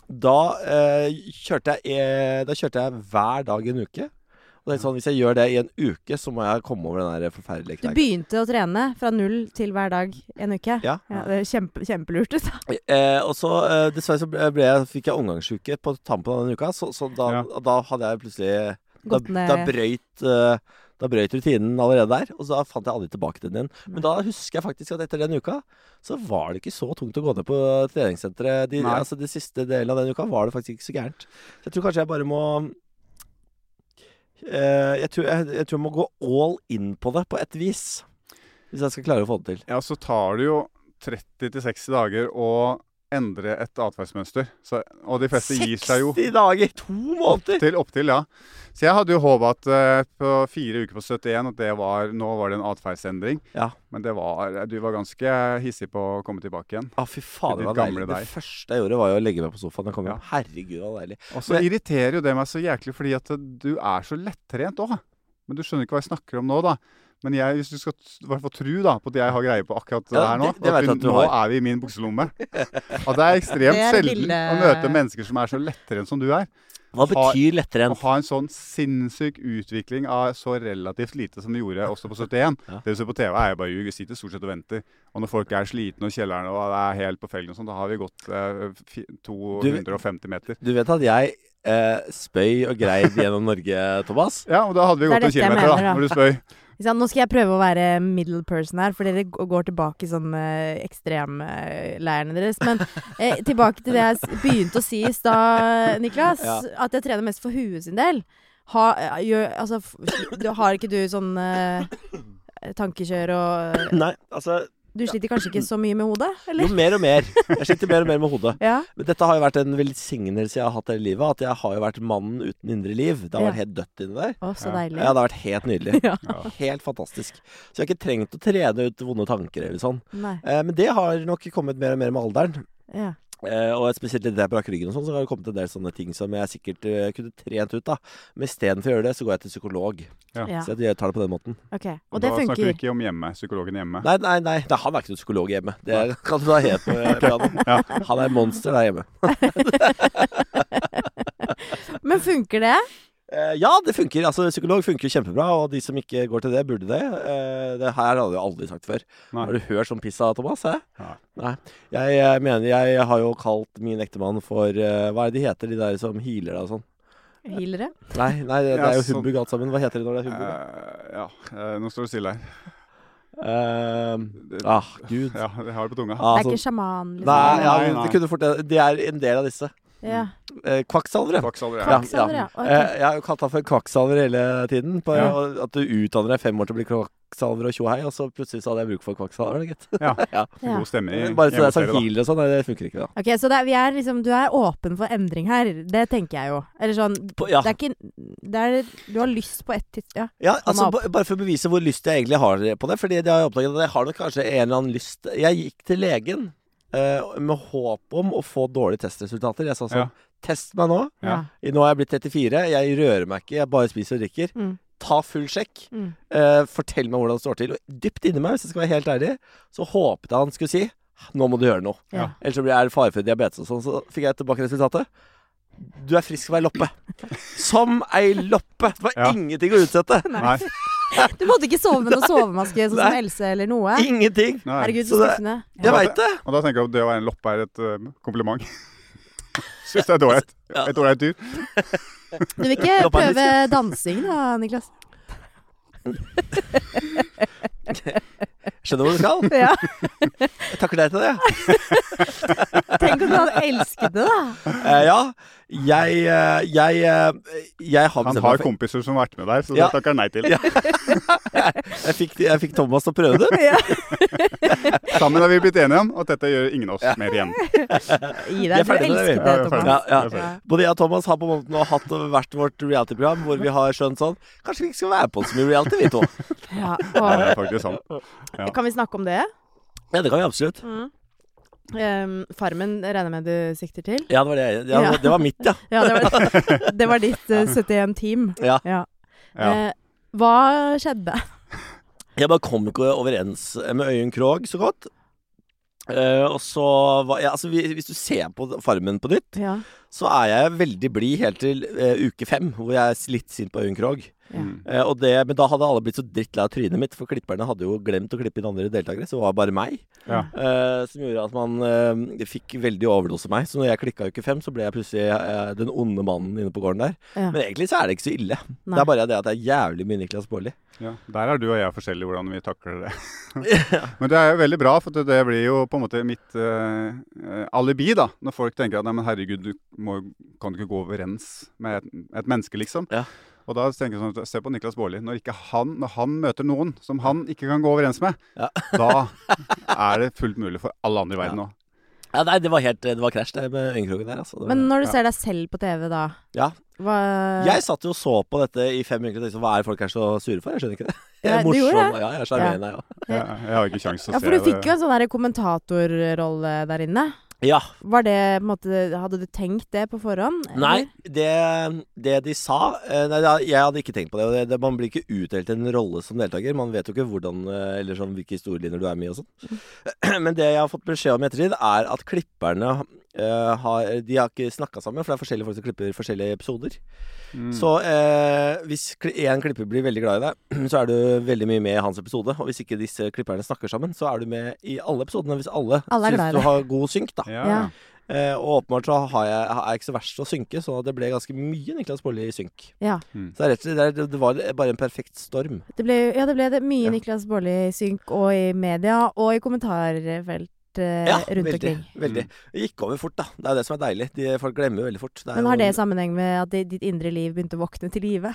Speaker 3: Da eh, kjørte jeg eh, Da kjørte jeg hver dag en uke. Og det er sånn, Hvis jeg gjør det i en uke, så må jeg komme over den der forferdelige
Speaker 1: Du
Speaker 3: kneiken.
Speaker 1: begynte å trene fra null til hver dag en uke.
Speaker 3: Ja.
Speaker 1: det er kjempe, kjempelurt ut.
Speaker 3: Eh, og så eh, dessverre så ble ble jeg, fikk jeg omgangsuke på tampen av den uka, så, så da,
Speaker 2: Ja.
Speaker 3: da hadde jeg plutselig da,
Speaker 1: Gått ned-
Speaker 3: da, brøyt, eh, da brøyt rutinen allerede der, og så da fant jeg aldri tilbake til den igjen. Men da husker jeg faktisk at etter den uka, så var det ikke så tungt å gå ned på treningssenteret. De,
Speaker 2: Nei.
Speaker 3: altså, de siste delen av den uka var det faktisk ikke så gærent. Så jeg tror kanskje jeg bare må eh, jeg, tror, jeg, jeg tror jeg må gå all in på det, på et vis. Hvis jeg skal klare å få det til.
Speaker 2: Ja, så tar det jo 30-60 dager å endre et atferdsmønster. Så- Og de fleste gir seg jo
Speaker 3: 60 dager! To måneder!
Speaker 2: til opptil, ja. Så jeg hadde jo håpa at eh, på fire uker på 71 at det var, nå var det en atferdsendring.
Speaker 3: Ja.
Speaker 2: Men det var, du var ganske hissig på å komme tilbake igjen.
Speaker 3: Ja, fy
Speaker 2: Til
Speaker 3: faen, det
Speaker 2: ditt
Speaker 3: var
Speaker 2: gamle
Speaker 3: deilig.
Speaker 2: deg.
Speaker 3: Det første jeg gjorde, var jo å legge meg på sofaen. Da kom jeg.
Speaker 2: Ja.
Speaker 3: Herregud, det var deilig.
Speaker 2: Og så
Speaker 3: Men-
Speaker 2: irriterer jo det meg så jæklig, fordi at du er så lettrent òg. Men du skjønner ikke hva jeg snakker om nå, da. Men jeg, hvis du skal t- i hvert fall tro da, på at jeg har greie på akkurat det
Speaker 3: Ja,
Speaker 2: her nå
Speaker 3: det- det
Speaker 2: at
Speaker 3: vet jeg
Speaker 2: vi,
Speaker 3: at du
Speaker 2: Nå
Speaker 3: har.
Speaker 2: er vi i min bukselomme. Og det er
Speaker 1: [LAUGHS]
Speaker 2: ekstremt
Speaker 1: Det er det
Speaker 2: sjelden
Speaker 1: lille-
Speaker 2: å møte mennesker som er så lettrent som du er.
Speaker 3: Hva
Speaker 2: Har-
Speaker 3: betyr lettere
Speaker 2: Å
Speaker 3: enn
Speaker 2: ha en sånn sinnssyk utvikling av så relativt lite som du gjorde også på 71.
Speaker 3: Ja.
Speaker 2: Det du ser på TV, er jo bare ljug. Vi sitter stort sett og venter. Og når folk er slitne og kjellerne og det er helt på felgen og sånn, da har vi gått eh, fi- 250 meter.
Speaker 3: Du vet at jeg eh, spøy og greid gjennom [LAUGHS] Norge, Thomas?
Speaker 2: Ja, og da hadde vi
Speaker 1: Det er
Speaker 2: gått en
Speaker 1: dette jeg
Speaker 2: kilometer,
Speaker 1: mener,
Speaker 2: da,
Speaker 1: da.
Speaker 2: når du spør.
Speaker 1: Ikke sant? Nå skal jeg prøve å være middle person her, for dere g- går tilbake i sånn eh, ekstremleirene deres. Men eh, tilbake til det jeg s- begynte å si i stad, Niklas.
Speaker 3: Ja.
Speaker 1: At jeg trener mest for huet sin del. Ha, eh, gjør, altså, f- du, har ikke du sånn eh, tankekjør og eh,
Speaker 3: Nei, altså
Speaker 1: Du sliter kanskje ikke så mye med hodet,
Speaker 3: Jo
Speaker 1: eller?
Speaker 3: mer og mer. Jeg sliter mer og mer med hodet.
Speaker 1: Ja.
Speaker 3: Men dette har jo vært en velsignelse jeg har hatt hele livet. At jeg har jo vært mannen uten indre liv. Det har
Speaker 1: Ja.
Speaker 3: vært helt dødt inni der.
Speaker 1: Å, så
Speaker 2: Ja.
Speaker 1: deilig.
Speaker 3: Ja, det har vært helt
Speaker 1: [LAUGHS]
Speaker 3: nydelig.
Speaker 1: Ja.
Speaker 2: Ja.
Speaker 3: Helt fantastisk. Så jeg har ikke trengt å trene ut vonde tanker eller sånn.
Speaker 1: Nei.
Speaker 3: Eh, men det har nok kommet mer og mer med alderen.
Speaker 1: Ja.
Speaker 3: Eh, og spesielt litt der på ryggen og sånn, så har det kommet en del sånne ting som jeg sikkert eh, kunne trent ut, da. Men istedenfor å gjøre det, så går jeg til psykolog.
Speaker 2: Ja.
Speaker 1: ja.
Speaker 3: Så jeg tar det på den måten.
Speaker 1: Ok. Og det
Speaker 2: da snakker vi
Speaker 1: funker.
Speaker 2: ikke om hjemme, psykologen hjemme.
Speaker 3: Nei, nei, nei. nei han er ikke noen psykolog hjemme. Det [LAUGHS] kan du da hete
Speaker 2: [LAUGHS]
Speaker 3: på eh, planen.
Speaker 2: Ja.
Speaker 3: Han er et monster der hjemme.
Speaker 1: Men funker det?
Speaker 3: Eh, ja, det funker. Altså, psykolog funker kjempebra, og de som ikke går til det, burde det. Eh, det her hadde jeg aldri sagt før.
Speaker 2: Nei.
Speaker 3: Har du hørt sånn piss av Thomas? hæ?
Speaker 2: Nei.
Speaker 3: Nei. Jeg, eh, mener jeg har jo kalt min ektemann for eh, Hva er det de heter, de der som healer deg og sånn?
Speaker 1: Healere?
Speaker 3: Nei, nei, det, det
Speaker 2: Ja,
Speaker 3: er jo
Speaker 2: sånn.
Speaker 3: humbug alt sammen. Hva heter det når det er humbug?
Speaker 2: Eh, ja, eh, nå står det stille her.
Speaker 3: Eh, ah, gud.
Speaker 2: Ja, jeg har det på tunga.
Speaker 3: Ah,
Speaker 1: det er
Speaker 3: sånn.
Speaker 1: ikke sjaman, liksom?
Speaker 3: Nei, ja,
Speaker 2: Nei,
Speaker 3: det
Speaker 2: nei.
Speaker 3: kunne fort Det er en del av disse.
Speaker 1: Ja.
Speaker 3: Eh, Kvakksalvere.
Speaker 2: Kvakksalvere.
Speaker 3: Ja,
Speaker 1: Kvakksalver, ja. Ok.
Speaker 3: Eh, jeg har jo kalt han for kvakksalver hele tiden. På,
Speaker 2: Ja.
Speaker 3: og At du utdanner deg fem år til å bli kvakksalver og tjohei, og så plutselig så hadde jeg bruk for kvakksalver. Gitt.
Speaker 2: Ja.
Speaker 3: ja.
Speaker 1: Ja.
Speaker 2: God stemme i
Speaker 3: Bare så det er sånn
Speaker 2: hjemmeserie, da.
Speaker 3: healer og sånn, nei, det funker ikke, da.
Speaker 1: Ok, Så det er, vi er liksom, du er åpen for endring her. Det tenker jeg jo. Eller sånn
Speaker 3: På, ja.
Speaker 1: Det er ikke det er, Du har lyst på ett tids... Ja.
Speaker 3: Ja, altså
Speaker 1: opp.
Speaker 3: ba- Bare for å bevise hvor lyst jeg egentlig har på det. Fordi jeg har oppdaget at jeg har nok kanskje en eller annen lyst Jeg gikk til legen eh, med håp om å få dårlige testresultater. Jeg sa sånn
Speaker 2: Ja.
Speaker 3: Test meg nå.
Speaker 2: Ja.
Speaker 3: Nå har jeg blitt 34. Jeg rører meg ikke. Jeg bare spiser og drikker.
Speaker 1: Mm.
Speaker 3: Ta full sjekk.
Speaker 1: Mm.
Speaker 3: Eh, fortell meg hvordan det står til. Og dypt inni meg, hvis jeg skal være helt ærlig, så håpet jeg han skulle si Nå må du gjøre noe.
Speaker 1: Ja.
Speaker 3: Ellers så blir jeg fare for diabetes og sånn. Så fikk jeg tilbake resultatet. Du er frisk som ei
Speaker 1: [LAUGHS]
Speaker 3: loppe. Som ei loppe! Det var
Speaker 2: Ja.
Speaker 3: ingenting å utsette.
Speaker 2: Nei.
Speaker 1: Du måtte ikke sove med noen sovemaske, sånn som
Speaker 3: Nei.
Speaker 1: Else eller noe?
Speaker 3: Ingenting.
Speaker 2: Nei.
Speaker 1: Herregud, så
Speaker 3: Så det-
Speaker 1: skuffende.
Speaker 3: Jeg
Speaker 2: Ja.
Speaker 3: veit det.
Speaker 2: Og da tenker jeg at det å være en loppe er et eh, kompliment. [LAUGHS] Syns det er dårlig. Et ålreit dyr.
Speaker 1: Du vil ikke
Speaker 3: Loppen er
Speaker 1: prøve dansing da, Niklas?
Speaker 3: Skjønner hvor du skal.
Speaker 1: Ja.
Speaker 3: [LAUGHS] Jeg takker deg til det.
Speaker 1: Tenk om du hadde elsket det, [LAUGHS] da.
Speaker 3: Eh, ja. Jeg, eh, jeg, eh, jeg har
Speaker 2: Han
Speaker 3: bestemt
Speaker 2: har
Speaker 3: meg for
Speaker 2: kompiser som har vært med der, så
Speaker 3: Ja.
Speaker 2: det takker han nei til.
Speaker 3: Ja. jeg fikk, jeg fikk Thomas til å prøve det.
Speaker 2: Sammen har vi blitt enige om at dette gjør ingen av oss mer igjen.
Speaker 1: Gi
Speaker 3: Vi er
Speaker 1: deg. Du
Speaker 3: ferdig med det, vi.
Speaker 1: elsket det,
Speaker 2: Ja, vi er ferdig.
Speaker 1: Thomas.
Speaker 3: Ja,
Speaker 2: Vi er ferdig.
Speaker 3: Både jeg og Thomas har på en måte nå hatt hvert vårt reality-program hvor vi har skjønt sånn Kanskje vi ikke skal være på så mye reality, vi to.
Speaker 1: Ja.
Speaker 2: Ja,
Speaker 1: Og,
Speaker 2: det er faktisk sant. Ja.
Speaker 1: kan vi snakke om det?
Speaker 3: Ja, det kan vi absolutt.
Speaker 1: Mm. Ehm, farmen regner jeg med du sikter til?
Speaker 3: Ja, det var, det. Ja,
Speaker 1: Ja.
Speaker 3: det var mitt, ja.
Speaker 1: Ja, det var, det var ditt eh, 71 team.
Speaker 3: Ja.
Speaker 2: Ja.
Speaker 1: Eh, hva skjedde?
Speaker 3: Jeg bare kom ikke overens med Øyunn Krogh så godt. Eh, og så var, ja, altså, vi- Hvis du ser på Farmen på nytt,
Speaker 1: Ja.
Speaker 3: så er jeg veldig blid helt til eh, uke fem, hvor jeg er litt sint på Øyunn Krogh.
Speaker 1: Ja.
Speaker 2: Mm.
Speaker 3: Eh, og det, men da hadde alle blitt så drittlei av trynet mitt, for klipperne hadde jo glemt å klippe inn andre deltakere, så det var bare meg.
Speaker 2: Ja.
Speaker 3: Eh, som gjorde at man eh, fikk veldig overdose meg. Så når jeg klikka uke fem, så ble jeg plutselig eh, den onde mannen inne på gården der.
Speaker 1: Ja.
Speaker 3: Men egentlig så er det ikke så ille.
Speaker 1: Nei.
Speaker 3: Det er bare det at det er jævlig mye Niklas Baarli.
Speaker 2: Ja, Der er du og jeg forskjellig hvordan vi takler
Speaker 3: [LAUGHS]
Speaker 2: det. [LAUGHS] Men det er jo veldig bra, for det- det blir jo på en måte mitt eh, eh, alibi, da. Når folk tenker at nei, men herregud, du må, kan du ikke gå overens med et, et menneske, liksom.
Speaker 3: Ja.
Speaker 2: Og da tenker jeg sånn, at, se på Niklas Baarli. Når, ikke han- når han møter noen som han ikke kan gå overens med,
Speaker 3: Ja.
Speaker 2: [LAUGHS] da er det fullt mulig for alle andre i verden òg.
Speaker 3: Ja, nei, det var helt Det var krasj, det med øyenkroken der, altså. Det var,
Speaker 1: Men eh, når du
Speaker 2: Ja.
Speaker 1: ser deg selv på TV, da
Speaker 3: ja.
Speaker 1: hva
Speaker 3: Jeg satt jo og så på dette i fem minutter og tenkte sånn, hva er det folk er så sure for? Jeg skjønner ikke det. [LAUGHS] Jeg
Speaker 1: Ja,
Speaker 3: er
Speaker 1: du gjorde
Speaker 3: morsom. Ja, jeg er sjarmerende, jeg òg.
Speaker 2: Jeg, jeg har ikke kjangs til å
Speaker 1: Ja,
Speaker 2: se
Speaker 1: for du
Speaker 2: det.
Speaker 1: fikk jo en sånn der kommentatorrolle der inne.
Speaker 3: Ja.
Speaker 1: Var det på en måte Hadde du tenkt det på forhånd? eller?
Speaker 3: Nei, det, det de sa eh, Nei, da- jeg hadde ikke tenkt på det. Og det, det man blir ikke utdelt en rolle som deltaker. Man vet jo ikke hvordan eh, Eller sånn hvilke historielinjer du er med i og sånn. [CLEARS THROAT] Men det jeg har fått beskjed om i ettertid, er at klipperne eh, har De har ikke snakka sammen, for det er forskjellige folk som klipper forskjellige episoder. Så eh, hvis kli- en klipper blir veldig glad i deg, [CLEARS THROAT] så er du veldig mye med i hans episode. Og hvis ikke disse klipperne snakker sammen, så er du med i alle episodene. Hvis alle,
Speaker 1: Alle er glad i
Speaker 3: syns du
Speaker 1: deg.
Speaker 3: har god synk, da.
Speaker 2: Ja.
Speaker 1: Ja.
Speaker 3: Eh, og åpenbart så har jeg, er jeg ikke så verst til å synke, så det ble ganske mye Niklas Baarli i synk.
Speaker 1: Ja.
Speaker 2: Mm.
Speaker 1: Eh,
Speaker 3: Så det, er rett og slett, det, det var bare en perfekt storm.
Speaker 1: Det ble, ja, det ble det mye Niklas Baarli i synk, og i media, og i kommentarfelt eh, rundt
Speaker 3: veldig.
Speaker 1: omkring.
Speaker 3: veldig.
Speaker 2: Mm.
Speaker 3: Det gikk over fort, da. Det er det som er deilig. De, folk glemmer jo veldig fort. Det er
Speaker 1: Men har
Speaker 3: jo-
Speaker 1: det sammenheng med at di- ditt indre liv begynte å våkne til live?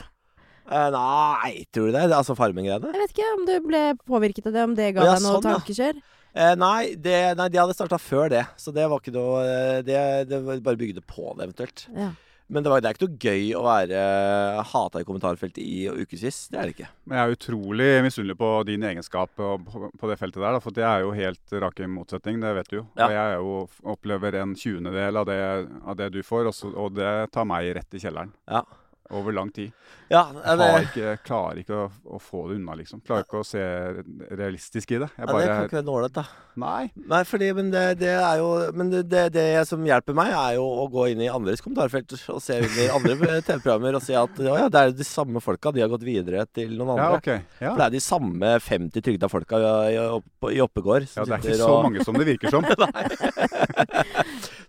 Speaker 3: Eh, Nei, tror du det? det er altså Farmen-greiene?
Speaker 1: Jeg vet ikke om du ble påvirket av det, om det ga
Speaker 3: Ja,
Speaker 1: deg noe
Speaker 3: sånn, ja.
Speaker 1: tankekjør.
Speaker 3: Eh, nei, det, nei, de hadde starta før det, så det var ikke noe eh, Det, det var bare bygde på det, eventuelt.
Speaker 1: Ja.
Speaker 3: Men det, var, det er ikke noe gøy å være hata i kommentarfeltet i ukevis. Det er det ikke.
Speaker 2: Men jeg er utrolig misunnelig på din egenskap og på på det feltet der. da, For det er jo helt rak i motsetning, det vet du jo.
Speaker 3: Ja.
Speaker 2: Og jeg er jo, opplever en tjuendedel av det, av det du får, og, så, og det tar meg rett i kjelleren.
Speaker 3: Ja.
Speaker 2: Over lang tid.
Speaker 3: Ja,
Speaker 2: Jeg
Speaker 3: det,
Speaker 2: har ikke, klarer ikke å, å få det unna, liksom. Klarer ikke å se realistisk i det. Jeg
Speaker 3: ja, det
Speaker 2: bare
Speaker 3: kan ikke være nålet, da.
Speaker 2: Nei.
Speaker 3: Nei, fordi, men det, det er jo Men det, det, det som hjelper meg, er jo å gå inn i andres kommentarfelt og se under
Speaker 2: [LAUGHS]
Speaker 3: andre TV-programmer og se at å ja, det er de samme folka. De har gått videre til noen
Speaker 2: Ja,
Speaker 3: andre.
Speaker 2: OK. Ja.
Speaker 3: For det er de samme 50 trygda folka i, opp, i Oppegård
Speaker 2: Ja,
Speaker 3: som,
Speaker 2: det er ikke
Speaker 3: sitter
Speaker 2: så
Speaker 3: og-
Speaker 2: mange som det virker
Speaker 3: [LAUGHS]
Speaker 2: som. Nei,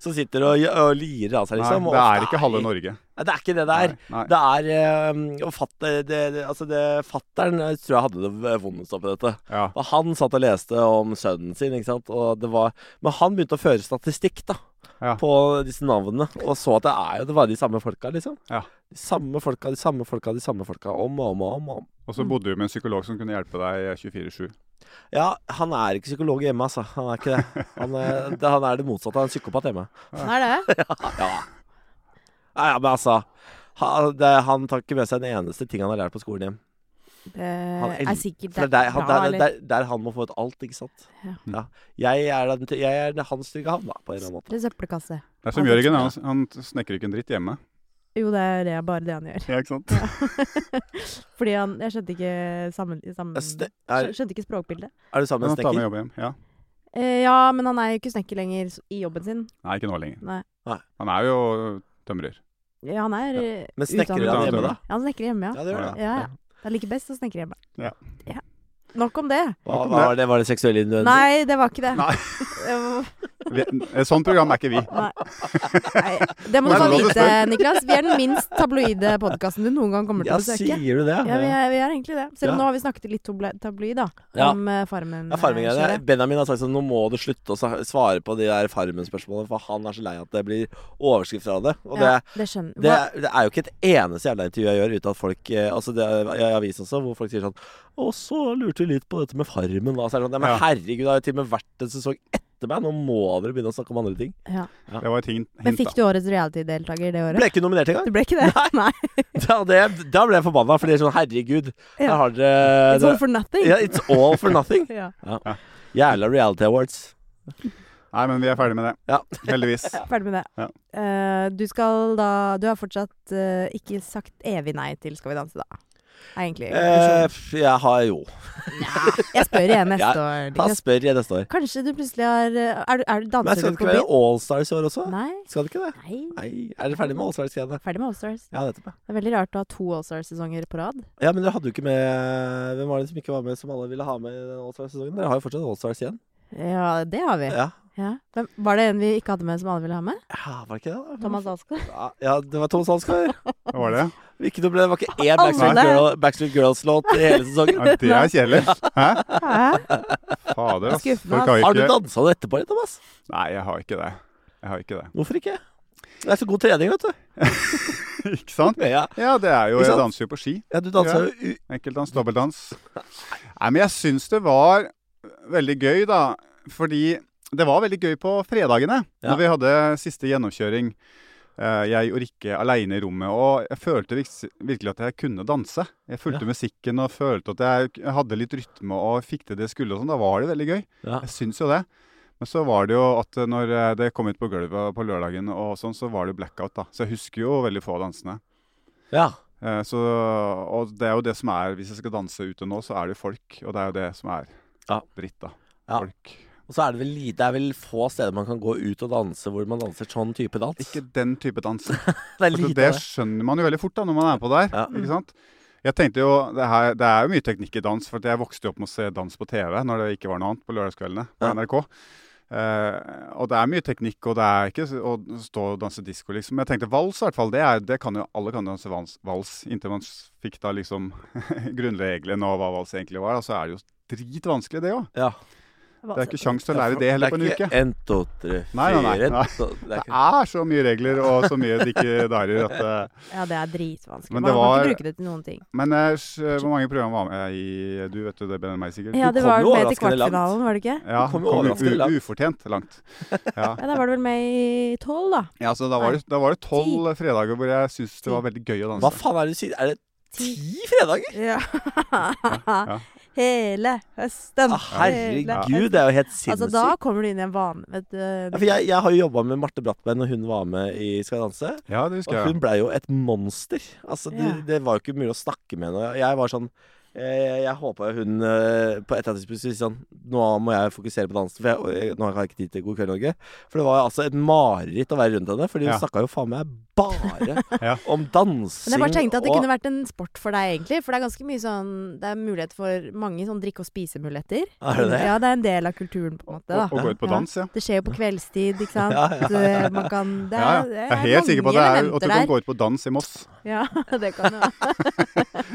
Speaker 3: som sitter og, og lirer av seg, liksom.
Speaker 2: det
Speaker 3: og
Speaker 2: er ikke halve Norge.
Speaker 3: Nei, det er ikke det det er.
Speaker 2: Nei, nei.
Speaker 3: Det er eh, og fatt, det, det, altså det, Fatteren eh, tror jeg hadde det vondest oppi dette.
Speaker 2: Ja.
Speaker 3: Og han satt og leste om sønnen sin, ikke sant. Og det var, men han begynte å føre statistikk, da.
Speaker 2: Ja.
Speaker 3: På disse navnene. Og så at det er jo det var de samme folka, liksom.
Speaker 2: Ja.
Speaker 3: De samme folka, de samme folka, de samme folka. Om og om og om. og om.
Speaker 2: Og så bodde du med en psykolog som kunne hjelpe deg 24-7.
Speaker 3: Ja, han er ikke psykolog hjemme, altså. Han er ikke det. Han
Speaker 2: [LAUGHS]
Speaker 3: er det, han er det motsatte av en psykopat hjemme.
Speaker 1: Sånn er
Speaker 3: [LAUGHS]
Speaker 1: det.
Speaker 3: Nei, ja, men altså. Han, det, han tar ikke med seg en eneste ting han har lært på skolen hjem.
Speaker 1: Det
Speaker 3: el-
Speaker 1: er sikkert
Speaker 3: For det er der, han,
Speaker 1: bra,
Speaker 3: der,
Speaker 1: eller?
Speaker 3: der, der han må få ut alt, ikke sant.
Speaker 1: Ja.
Speaker 3: Ja. Jeg, er den, jeg er den- hans trygge havn, da, på en eller annen måte.
Speaker 1: Det er søppelkasse.
Speaker 2: Det er som
Speaker 1: Ja, det
Speaker 2: Jørgen,
Speaker 1: tror
Speaker 2: han, han snekker ikke en dritt hjemme.
Speaker 1: Jo, det er det, bare det han gjør.
Speaker 2: Ja, ikke sant?
Speaker 1: [LAUGHS] Fordi han Jeg skjønte ikke sammen... sammen
Speaker 3: Jeg sne-
Speaker 1: skjø-
Speaker 3: Er,
Speaker 1: skjønte ikke språkbildet.
Speaker 3: er du sammen
Speaker 2: Men
Speaker 3: med en
Speaker 2: han tar med
Speaker 3: snekker?
Speaker 2: jobb hjem. Ja.
Speaker 1: Eh, ja, men han er jo ikke snekker lenger s- i jobben sin.
Speaker 2: Nei, ikke nå lenger.
Speaker 1: Nei.
Speaker 3: Nei.
Speaker 2: Han er jo tømrer.
Speaker 1: Ja, han er eh,
Speaker 3: Men snekker
Speaker 1: utdannet-
Speaker 3: dere han
Speaker 2: Utdannet
Speaker 3: hjemme, da?
Speaker 1: Ja, han snekker hjemme, ja.
Speaker 3: Ja, det gjør
Speaker 1: Ja,
Speaker 3: det.
Speaker 1: ja. Det er like best å snekre hjemme.
Speaker 2: Ja.
Speaker 1: Ja. Nok om det.
Speaker 3: Hva, hva var, det, var det seksuelle innvendelser?
Speaker 1: Nei, det var ikke det.
Speaker 2: Nei.
Speaker 1: [LAUGHS] Det var-
Speaker 2: Vi, et sånt program er ikke vi.
Speaker 1: Nei.
Speaker 2: [LAUGHS]
Speaker 1: Nei. Det må du bare
Speaker 2: Nei, altså, det var det
Speaker 1: vite, Niklas. Vi er den minst tabloide podkasten du noen gang kommer til
Speaker 3: Ja,
Speaker 1: å besøke.
Speaker 3: sier du det?
Speaker 1: Ja, vi er, vi er egentlig det. Selv om
Speaker 3: Ja.
Speaker 1: nå har vi snakket litt tabloid, tabloid da.
Speaker 3: Ja.
Speaker 1: Om eh, farmen.
Speaker 3: Ja, farming
Speaker 1: eh,
Speaker 3: er det.
Speaker 1: kjøret.
Speaker 3: Benjamin har sagt sånn Nå må du slutte å sa- svare på de der Farmen-spørsmålene, for han er så lei at det blir overskrifter av det. Og det,
Speaker 1: Ja, det skjønner
Speaker 3: det, er- det er jo ikke et eneste jævla intervju jeg gjør uten at folk eh, Altså, det er i avisen også, hvor folk sier sånn Og så lurte vi litt på dette med Farmen, da. Så er det sånn, «Nei, men
Speaker 2: Ja.
Speaker 3: herregud, det har jo til og med vært en sesong etter meg. Nå må dere begynne å snakke om andre ting.
Speaker 1: ja.
Speaker 2: Det var et hint,
Speaker 1: Men
Speaker 2: hint
Speaker 1: fikk
Speaker 2: da.
Speaker 1: du årets reality-deltaker det året?
Speaker 3: Ble ikke nominert engang. [LAUGHS]
Speaker 1: Du ble ikke det? Nei.
Speaker 3: Da, det, da ble jeg forbanna, for det er sånn herregud,
Speaker 1: Ja.
Speaker 3: her har [LAUGHS] dere
Speaker 1: It's all for nothing.
Speaker 3: Ja, it's all for nothing.
Speaker 1: Ja.
Speaker 3: Jævla reality awards.
Speaker 2: Nei, men vi er ferdig med det.
Speaker 3: Ja.
Speaker 2: Heldigvis.
Speaker 1: Ferdig med det.
Speaker 2: Ja.
Speaker 1: Eh, du skal da Du har fortsatt eh, ikke sagt evig nei til Skal vi danse, da. Er egentlig
Speaker 3: Eh, f- jeg har jo
Speaker 1: Jeg spør igjen neste
Speaker 3: Ja,
Speaker 1: år.
Speaker 3: Da
Speaker 1: Niklas.
Speaker 3: spør jeg neste år.
Speaker 1: Kanskje du plutselig har eh, Er du, er du
Speaker 3: Men
Speaker 1: danser du
Speaker 3: skal det
Speaker 1: på
Speaker 3: ikke være
Speaker 1: byen?
Speaker 3: Allstars i år også?
Speaker 1: Nei.
Speaker 3: Skal det ikke det?
Speaker 1: nei.
Speaker 3: Nei. Er dere ferdig med Allstars-greiene?
Speaker 1: Ferdig med Allstars.
Speaker 3: Ja, nettopp. ja.
Speaker 1: Det er veldig rart å ha to Allstars-sesonger på rad.
Speaker 3: Ja, men dere hadde jo ikke med Hvem var det som ikke var med, som alle ville ha med i den Allstars-sesongen? Dere har jo fortsatt Allstars igjen.
Speaker 1: Ja, det har vi.
Speaker 3: Ja.
Speaker 1: Ja. Hvem, var det en vi ikke hadde med, som alle ville ha med?
Speaker 3: ja, var det ikke det? da?
Speaker 1: Thomas
Speaker 3: [LAUGHS]
Speaker 1: Alsgaard.
Speaker 3: Ja, Ja, det var Thomas
Speaker 1: [LAUGHS]
Speaker 3: Alsgaard.
Speaker 2: Hva var det?
Speaker 3: Ikke noe ble- Det var ikke én Backstreet,
Speaker 1: Alle.
Speaker 3: Girl, Backstreet Girls-låt i hele sesongen.
Speaker 2: Ja, det er kjedelig. Hæ?
Speaker 1: Hæ?
Speaker 2: Fader, ass.
Speaker 1: Jeg er skuffet,
Speaker 2: Folk [LAUGHS] har
Speaker 3: Har du
Speaker 2: jo ikke
Speaker 3: dansa det etterpå, Thomas?
Speaker 2: Nei, jeg har ikke det. Jeg har ikke det.
Speaker 3: Hvorfor ikke? Det er så god trening, vet du.
Speaker 2: Ikke sant?
Speaker 3: Ja,
Speaker 2: Ja, det er jo
Speaker 3: Ikke
Speaker 2: Jeg
Speaker 3: sant?
Speaker 2: danser jo på ski.
Speaker 3: ja du dansa
Speaker 2: Ja.
Speaker 3: jo u-
Speaker 2: Enkeltdans, dobbeltdans. Nei, men jeg syns det var veldig gøy, da. Fordi det var veldig gøy på fredagene,
Speaker 3: Ja.
Speaker 2: når vi hadde siste gjennomkjøring. Eh, Jeg og Rikke aleine i rommet, og jeg følte viks- virkelig at jeg kunne danse. Jeg fulgte musikken og følte at jeg k- hadde litt rytme og fikk til det jeg skulle. og sånn. Da var det veldig gøy.
Speaker 3: Ja.
Speaker 2: Jeg syns jo det. Men så var det jo at når eh, det kom ut på gulvet på lørdagen, og sånn, så var det blackout. da. Så jeg husker jo veldig få av dansene.
Speaker 3: ja.
Speaker 2: Eh, Så, og det er jo det som er Hvis jeg skal danse ute nå, så er det jo folk. Og det er jo det som er
Speaker 3: Ja.
Speaker 2: dritt, da.
Speaker 3: Ja.
Speaker 2: Folk.
Speaker 3: Og så er det vel lite Det er vel få steder man kan gå ut og danse hvor man danser sånn type dans.
Speaker 2: Ikke den type dans.
Speaker 3: [LAUGHS] det er
Speaker 2: For
Speaker 3: lite
Speaker 2: det
Speaker 3: av det.
Speaker 2: skjønner man jo veldig fort da når man er på der.
Speaker 3: Ja.
Speaker 2: Ikke sant? Jeg tenkte jo, det, her, det er jo mye teknikk i dans, for at jeg vokste jo opp med å se dans på TV når det ikke var noe annet på lørdagskveldene på
Speaker 3: Ja.
Speaker 2: NRK. Eh, og det er mye teknikk, og det er ikke s- å stå og danse disko, liksom. Jeg tenkte vals, i hvert fall. Det, er, det kan jo alle kan danse vals, vals inntil man s- fikk da [LAUGHS] liksom grunnreglene og hva vals egentlig var. Og så er det jo dritvanskelig, det òg.
Speaker 3: Altså, Ja.
Speaker 2: Det er ikke kjangs til å lære det heller på en
Speaker 3: Det er
Speaker 2: uke.
Speaker 3: ikke en, to, tre,
Speaker 2: Nei, nei, nei,
Speaker 3: fire
Speaker 2: nei.
Speaker 3: så Det er
Speaker 2: Det
Speaker 3: ikke
Speaker 2: er så mye regler og så mye dikkedarer at eh,
Speaker 1: Ja, det er dritvanskelig.
Speaker 2: Men
Speaker 1: Man
Speaker 2: det
Speaker 1: kan
Speaker 2: var-
Speaker 1: ikke bruke det til noen ting.
Speaker 2: Men eh, s- hvor mange program var med i Du vet jo det bedre enn meg, sikkert.
Speaker 1: Ja, det
Speaker 3: kom
Speaker 1: var med
Speaker 3: jo
Speaker 1: til
Speaker 3: overraskende langt.
Speaker 1: kvartfinalen, var det ikke?
Speaker 2: Ja,
Speaker 3: Du kom jo
Speaker 2: kom u-
Speaker 3: overraskende langt.
Speaker 2: u- ufortjent langt. Ja.
Speaker 1: Ja, Da var det vel med i tolv, da.
Speaker 2: [LAUGHS] ja, så da var det- da var det tolv fredager hvor jeg syntes det var veldig gøy å
Speaker 3: Hva
Speaker 2: danse.
Speaker 3: faen er det du sier? Er det [LAUGHS] ti fredager?
Speaker 1: Ja.
Speaker 2: ja.
Speaker 1: Hele høsten.
Speaker 3: Ah, Herregud, det er jo helt
Speaker 1: Altså, da
Speaker 3: sinnssykt.
Speaker 1: kommer du inn i en vane vet du.
Speaker 3: Ja, for jeg, jeg har jo jobba med Marte Brattberg når hun var med i Skal vi danse.
Speaker 2: Ja, det husker
Speaker 3: Og
Speaker 2: jeg.
Speaker 3: hun blei jo et monster. Altså, det,
Speaker 1: Ja.
Speaker 3: det var jo ikke mulig å snakke med henne. Jeg var sånn eh, Jeg håpa jo hun eh, på et eller annet tidspunkt skulle si sånn Nå må jeg fokusere på dansen, for jeg, jeg, nå har jeg ikke tid til God kveld, Norge. For det var jo altså et mareritt å være rundt henne, Fordi hun
Speaker 2: Ja.
Speaker 3: snakka jo faen meg bare
Speaker 2: [LAUGHS] Ja.
Speaker 3: om dansing
Speaker 1: Men jeg bare tenkte at det
Speaker 3: og
Speaker 1: kunne vært en sport for deg, egentlig. For det er ganske mye sånn Det er mulighet for mange sånn drikke- og spisemuligheter.
Speaker 3: Er det det?
Speaker 1: Ja, det er en del av kulturen, på en måte.
Speaker 2: Og, og
Speaker 1: da
Speaker 2: gå ut på
Speaker 1: Ja.
Speaker 2: dans, ja.
Speaker 1: Det skjer jo på kveldstid, ikke sant.
Speaker 3: Ja, ja, ja, ja.
Speaker 1: Man kan Det
Speaker 2: Ja, ja.
Speaker 1: er, det
Speaker 2: Jeg
Speaker 1: er
Speaker 2: er helt sikker på at,
Speaker 1: mange
Speaker 2: det er, at du
Speaker 1: elementer der.
Speaker 2: kan gå ut på dans i Moss,
Speaker 1: Ja, [LAUGHS] det kan jo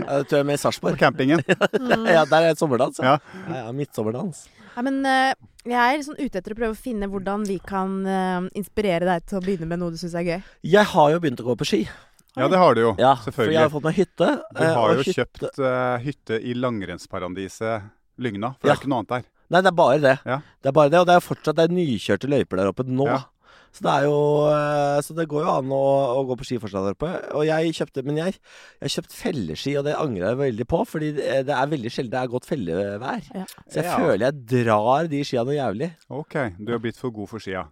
Speaker 3: Ja, det tror jeg med
Speaker 1: [LAUGHS]
Speaker 3: i
Speaker 2: på
Speaker 3: Sarpsborg. [LAUGHS]
Speaker 2: campingen.
Speaker 3: Ja, der er et sommerdans.
Speaker 2: Ja.
Speaker 3: ja, ja midtsommerdans.
Speaker 1: Ja, men eh, jeg er liksom ute etter å prøve å finne hvordan vi kan eh, inspirere deg til å begynne med noe du syns er gøy.
Speaker 3: Jeg har jo begynt å gå på ski.
Speaker 2: Ja, det har du jo.
Speaker 3: Ja, For jeg har
Speaker 2: Selvfølgelig.
Speaker 3: fått meg hytte.
Speaker 2: Du
Speaker 3: eh,
Speaker 2: har
Speaker 3: og
Speaker 2: jo
Speaker 3: hytte-
Speaker 2: kjøpt eh, hytte i langrennsparadiset Lygna, for
Speaker 3: Ja.
Speaker 2: det er ikke noe annet der.
Speaker 3: Nei, det er bare det.
Speaker 2: Ja.
Speaker 3: Det er bare det, Og det er fortsatt det er nykjørte løyper der oppe nå.
Speaker 2: Ja.
Speaker 3: Så det er jo eh, Så det går jo an å, å gå på ski fortsatt der oppe. Og jeg kjøpte Men jeg jeg har kjøpt felleski, og det angrer jeg veldig på. Fordi det det er veldig sjelden det er godt fellevær.
Speaker 1: Ja.
Speaker 3: Så jeg
Speaker 2: Ja.
Speaker 3: føler jeg drar de skia noe jævlig.
Speaker 2: Ok, du har blitt for god for skia.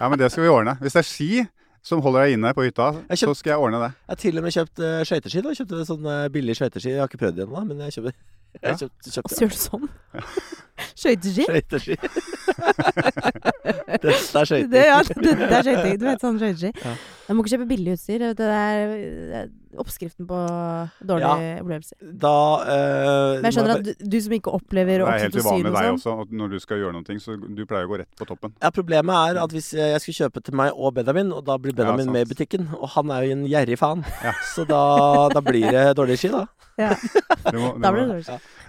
Speaker 2: Ja, men det skal vi ordne. Hvis det er ski som holder deg inne på hytta,
Speaker 3: Jeg
Speaker 2: så
Speaker 3: kjøpt-
Speaker 2: skal jeg ordne det.
Speaker 3: Jeg har til og med kjøpt uh, skøyteski. da. Jeg Kjøpte sånne billige skøyteski. Jeg har ikke prøvd det ennå, men jeg kjøpte, [LAUGHS]
Speaker 2: Ja.
Speaker 3: jeg kjøpte,
Speaker 1: Og
Speaker 3: kjøpte
Speaker 1: så gjør du sånn. [LAUGHS] Skøyteski.
Speaker 3: skøyteski. [LAUGHS] Dette er skøyter.
Speaker 1: Det, ja, dette er skøyting. Du vet sånn skøyteski.
Speaker 3: Ja.
Speaker 1: Du må ikke kjøpe billig utstyr. vet du. Det er det er oppskriften på dårlige opplevelser.
Speaker 3: Da eh,
Speaker 1: Men jeg
Speaker 3: må
Speaker 1: skjønner
Speaker 3: bare-
Speaker 1: at du, du som ikke opplever
Speaker 2: Det er helt
Speaker 1: oksytocin
Speaker 2: uvanlig
Speaker 1: og
Speaker 2: deg
Speaker 1: sånn
Speaker 2: også, at når du skal gjøre noe, så du pleier å gå rett på toppen.
Speaker 3: Ja, Problemet er at hvis jeg skulle kjøpe til meg og Benjamin, og da blir Benjamin
Speaker 2: sant.
Speaker 3: med i butikken, og han er jo en gjerrig faen,
Speaker 2: Ja.
Speaker 3: så da, da blir det dårlige ski, da.
Speaker 1: ja,
Speaker 2: Du må,
Speaker 1: sånn, da
Speaker 2: du
Speaker 1: blir
Speaker 2: må,
Speaker 1: det dårlig.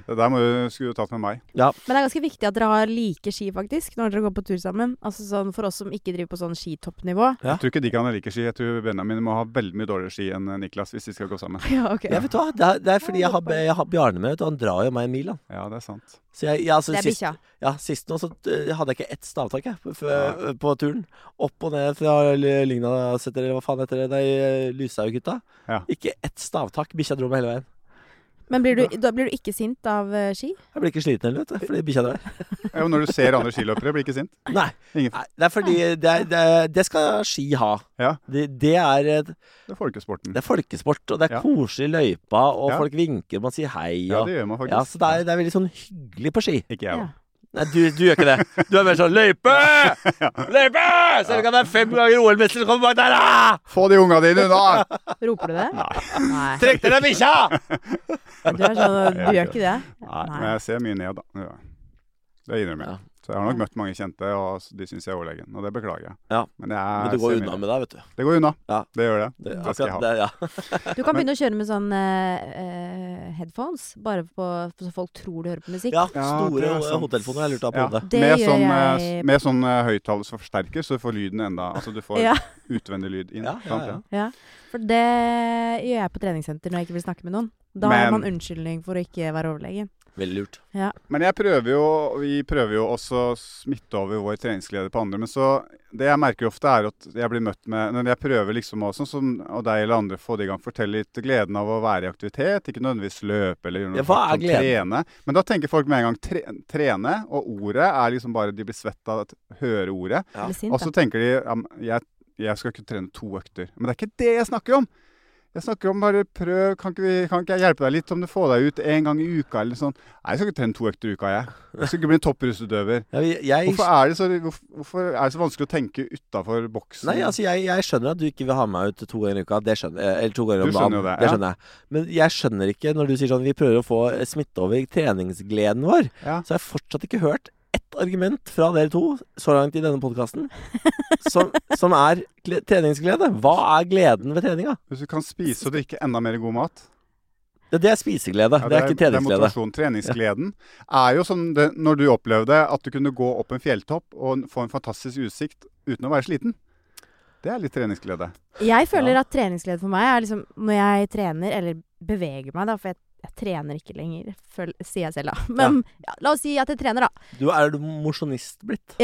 Speaker 2: det der må du, skulle du tatt med meg.
Speaker 1: Men det er ganske viktig at dere har like ski, faktisk, når dere går på tur sammen. Altså sånn For oss som ikke driver på sånn skitoppnivå.
Speaker 3: Ja.
Speaker 2: Jeg tror ikke de kan like ski. Jeg tror Benjamin må ha veldig mye dårligere ski enn eh, Niklas hvis de skal gå sammen.
Speaker 1: [LAUGHS] Ja, ok.
Speaker 3: Ja, vet du hva? Det er, det er fordi jeg har, jeg har Bjarne med, vet du. Han drar jo meg en mil, han.
Speaker 2: Ja, det er sant.
Speaker 3: Så jeg, jeg, altså,
Speaker 1: Det er
Speaker 3: sist,
Speaker 1: bikkja.
Speaker 3: ja, sist nå så eh, hadde jeg ikke ett stavtak jeg, på, f- eh, på turen. Opp og ned fra L- Lygnaseter, eller hva faen heter det, nei, Lyshaughytta.
Speaker 2: Ja.
Speaker 3: Ikke ett stavtak. Bikkja dro meg hele veien.
Speaker 1: Men blir du, da blir du ikke sint av eh, ski?
Speaker 3: Jeg blir ikke sliten heller, vet du, fordi bikkja drar.
Speaker 2: Ja, men når du ser andre skiløpere, blir ikke sint.
Speaker 3: Nei,
Speaker 2: Ingen-
Speaker 3: nei, det er fordi Det, er- det, er- det skal ski ha.
Speaker 2: Ja.
Speaker 3: Det, det er et
Speaker 2: Det er folkesporten.
Speaker 3: Det er folkesport, og det er
Speaker 2: Ja.
Speaker 3: koselig i løypa, og
Speaker 2: Ja.
Speaker 3: folk vinker, man sier hei.
Speaker 2: Ja,
Speaker 3: Og,
Speaker 2: det gjør man
Speaker 3: ja,
Speaker 2: faktisk.
Speaker 3: så det er, det er veldig sånn hyggelig på ski.
Speaker 2: Ikke jeg, da.
Speaker 3: Nei, du, du gjør ikke det. Du er mer sånn
Speaker 2: [LAUGHS]
Speaker 3: 'løype! Løype!' Selv om det er fem ganger OL-mester som kommer bak der, da!
Speaker 2: Få de unga dine
Speaker 1: [LAUGHS]
Speaker 2: unna!
Speaker 1: Roper
Speaker 2: [LAUGHS]
Speaker 1: du det? Nei.
Speaker 3: Trekk deg ned, bikkja!
Speaker 1: Du, er sånn, du
Speaker 2: Jeg
Speaker 1: gjør
Speaker 2: gjør
Speaker 1: ikke det?
Speaker 2: Men jeg ser mye ned, da. Ja. Det innrømmer
Speaker 3: Ja.
Speaker 2: jeg. Så jeg har nok møtt mange kjente, og s- de syns jeg er overlegen. Og det beklager jeg.
Speaker 3: Ja.
Speaker 2: Men jeg
Speaker 3: Men det går
Speaker 2: ser
Speaker 3: unna
Speaker 2: mye
Speaker 3: med deg, vet du.
Speaker 2: ned. Det går unna.
Speaker 3: Ja.
Speaker 2: Det gjør det.
Speaker 3: Det,
Speaker 2: det skal jeg
Speaker 3: akkurat
Speaker 2: ha.
Speaker 3: det, ja.
Speaker 1: Du kan
Speaker 2: Men-
Speaker 1: begynne å kjøre med sånn eh, eh, headphones, bare på, så folk tror du hører på musikk.
Speaker 3: ja,
Speaker 2: Ja, det
Speaker 3: store
Speaker 2: er sant.
Speaker 3: hodetelefoner har jeg lurt av på
Speaker 2: Ja.
Speaker 3: hodet.
Speaker 1: Det
Speaker 2: med,
Speaker 1: gjør
Speaker 2: sånn,
Speaker 1: jeg
Speaker 2: eh, s- med sånn eh, høyttalersforsterker, så du får lyden enda Altså du får
Speaker 1: Ja.
Speaker 2: utvendig lyd inn.
Speaker 3: Ja, ja,
Speaker 2: sant,
Speaker 3: ja.
Speaker 1: Ja, for det gjør jeg på treningssenter når jeg ikke vil snakke med noen. Da har
Speaker 2: Men-
Speaker 1: man unnskyldning for å ikke være overlegen.
Speaker 3: Veldig lurt.
Speaker 2: Men jeg prøver jo, vi prøver jo også å smitte over vår treningsglede på andre. Men så det jeg merker ofte, er at jeg blir møtt med Når jeg prøver liksom også, som, og deg eller andre, få det i gang, fortelle litt gleden av å være i aktivitet. Ikke nødvendigvis løpe eller gjøre noe
Speaker 3: Ja, hva
Speaker 2: hardt
Speaker 3: er
Speaker 2: som trene. Men da tenker folk med en gang tre, trene, og ordet er liksom bare De blir svett av å høre ordet.
Speaker 3: Ja.
Speaker 1: Eller sint,
Speaker 2: Og så
Speaker 1: da.
Speaker 2: tenker de ja, men jeg, jeg skal ikke trene to økter. Men det er ikke det jeg snakker om! Jeg snakker om bare prøv, kan ikke, vi, kan ikke jeg hjelpe deg litt? Om du får deg ut en gang i uka eller sånn. Nei, jeg skal ikke trene to økter i uka, jeg. Jeg skal ikke bli en topprustutøver.
Speaker 3: Ja, vi- jeg,
Speaker 2: Hvorfor er, det så, hvorfor, hvorfor er det så vanskelig å tenke utafor boksen?
Speaker 3: Nei, altså jeg, jeg skjønner at du ikke vil ha meg ut to ganger i uka. Det skjønner jeg. Eller to ganger
Speaker 2: Du
Speaker 3: om
Speaker 2: skjønner jo det,
Speaker 3: dagen. Det
Speaker 2: ja.
Speaker 3: skjønner jeg. Men jeg skjønner ikke når du sier sånn Vi prøver å få smitte over treningsgleden vår.
Speaker 2: Ja.
Speaker 3: Så har jeg fortsatt ikke hørt ett argument fra dere to så langt i denne podkasten som, som er gle- treningsglede. Hva er gleden ved treninga?
Speaker 2: Hvis du kan spise og drikke enda mer god mat
Speaker 3: Det, det er spiseglede,
Speaker 2: Ja,
Speaker 3: det er ikke
Speaker 2: Det er
Speaker 3: treningsglede.
Speaker 2: motivasjon. Treningsgleden er jo som det, når du opplevde at du kunne gå opp en fjelltopp og få en fantastisk utsikt uten å være sliten. Det er litt treningsglede.
Speaker 1: Jeg føler
Speaker 3: Ja.
Speaker 1: at treningsglede for meg er liksom når jeg trener, eller beveger meg, da, for jeg, jeg trener ikke lenger, føl, sier jeg selv, da. Men ja. la oss si at jeg trener, da.
Speaker 3: Du er du mosjonist blitt.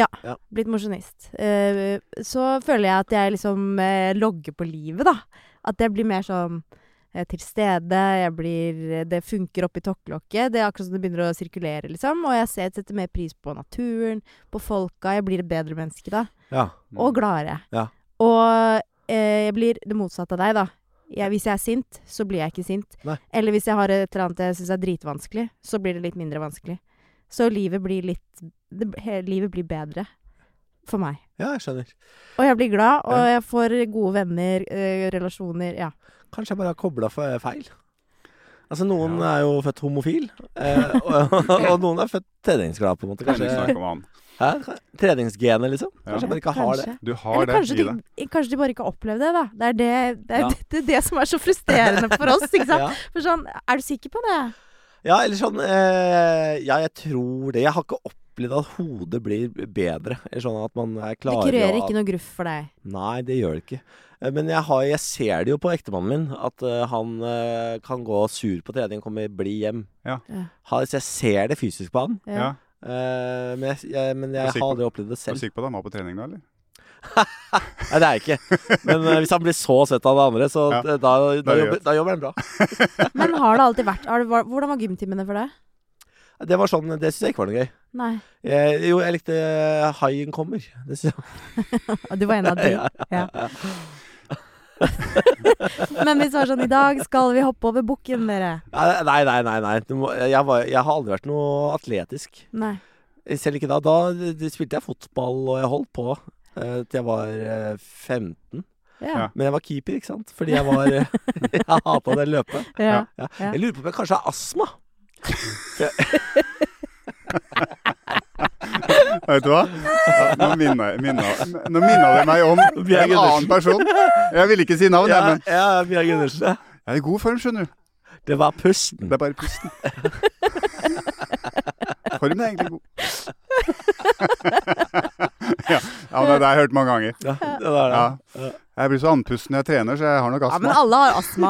Speaker 1: Blitt mosjonist. Eh, så føler jeg at jeg liksom eh, logger på livet, da. At jeg blir mer sånn eh, til stede, jeg blir Det funker oppi tokkelokket. Det er akkurat som det begynner å sirkulere, liksom. Og jeg ser, setter mer pris på naturen, på folka. Jeg blir et bedre menneske da.
Speaker 3: Ja.
Speaker 1: og gladere.
Speaker 3: Mm. Ja.
Speaker 1: Og eh, jeg blir det motsatte av deg, da. Jeg, hvis jeg er sint, så blir jeg ikke sint.
Speaker 3: Nei.
Speaker 1: Eller hvis jeg har et eller annet jeg syns er dritvanskelig, så blir det litt mindre vanskelig. Så livet blir litt det, he, Livet blir bedre for meg.
Speaker 3: ja, jeg skjønner.
Speaker 1: Og jeg blir glad, og
Speaker 3: Ja.
Speaker 1: jeg får gode venner, eh, relasjoner Ja.
Speaker 3: Kanskje jeg bare har kobla feil. Altså, noen er jo født homofil,
Speaker 2: [LAUGHS]
Speaker 3: eh, og, og noen er født treningsglad, på en måte.
Speaker 2: Kanskje
Speaker 3: Kanskje,
Speaker 2: narkoman.
Speaker 3: Hæ? Treningsgenet, liksom.
Speaker 2: Ja.
Speaker 3: Kanskje jeg bare ikke har det.
Speaker 2: Du har
Speaker 1: Eller
Speaker 2: det
Speaker 1: kanskje
Speaker 2: i
Speaker 1: de,
Speaker 2: deg.
Speaker 1: kanskje de bare ikke har opplevd det, da. Det er det, det, er [LAUGHS]
Speaker 3: Ja.
Speaker 1: det, det, er det som er så frustrerende for oss. Ikke sant?
Speaker 3: [LAUGHS] Ja.
Speaker 1: For sånn, er du sikker på det?
Speaker 3: Ja, eller sånn eh, Ja, jeg tror det. Jeg har ikke opplevd at hodet blir bedre. Eller sånn at man er
Speaker 1: Det
Speaker 3: klarer
Speaker 1: kurerer
Speaker 3: å-
Speaker 1: ikke noe gruff for deg.
Speaker 3: Nei, det gjør det ikke. Eh, Men jeg, har, jeg ser det jo på ektemannen min, at eh, han eh, kan gå sur på trening, kommer bli hjem.
Speaker 2: Ja.
Speaker 1: Ja.
Speaker 3: Ha- så jeg ser det fysisk på han,
Speaker 2: Ja.
Speaker 3: eh, men jeg, jeg, men
Speaker 2: Er du
Speaker 3: jeg
Speaker 2: sikker
Speaker 3: har aldri opplevd det
Speaker 2: Er du
Speaker 3: selv.
Speaker 2: sikker på at han var på trening da, eller?
Speaker 3: Nei, det er jeg ikke. Men eh, hvis han blir så sett av det andre, så
Speaker 2: Ja.
Speaker 3: eh, da,
Speaker 2: Da
Speaker 3: da,
Speaker 2: er det
Speaker 3: jobber, da jobber han bra.
Speaker 1: Men har det alltid vært har det, var- Hvordan var gymtimene for deg?
Speaker 3: Det var sånn, det syns jeg ikke var noe gøy.
Speaker 1: Nei.
Speaker 3: Jeg, jo, jeg likte eh, Haien kommer. Det synes jeg.
Speaker 1: Og du var en av de. Ja. Men hvis det var sånn I dag skal vi hoppe over bukken, dere.
Speaker 3: Nei, nei, nei. nei. Du må, eh, jeg, var, jeg har aldri vært noe atletisk.
Speaker 1: Nei.
Speaker 3: Selv ikke da. Da d- spilte jeg fotball, og jeg holdt på eh, til jeg var eh, 15.
Speaker 1: Ja.
Speaker 3: Men jeg var keeper, ikke sant? Fordi jeg var eh, [LAUGHS] Jeg hata det løpet.
Speaker 1: Ja. ja.
Speaker 3: Ja. Jeg lurer på om jeg kanskje har astma.
Speaker 2: Vet du hva? Nå minna, minna, nå minna det meg
Speaker 3: [LAUGHS]
Speaker 2: om en
Speaker 3: Bjerre
Speaker 2: annen person. Jeg ville ikke si navn,
Speaker 3: Ja,
Speaker 2: jeg, men
Speaker 3: ja Bjørn Gundersen. ja.
Speaker 2: jeg er i god form, skjønner du.
Speaker 3: Det var pusten.
Speaker 2: Det er bare pusten. Formen er egentlig god. [LAUGHS] ja, ja men det har jeg hørt mange ganger.
Speaker 3: Ja, det var det.
Speaker 2: Ja. Jeg blir så andpusten når jeg trener, så jeg har nok
Speaker 1: men
Speaker 2: astma.
Speaker 1: alle har astma,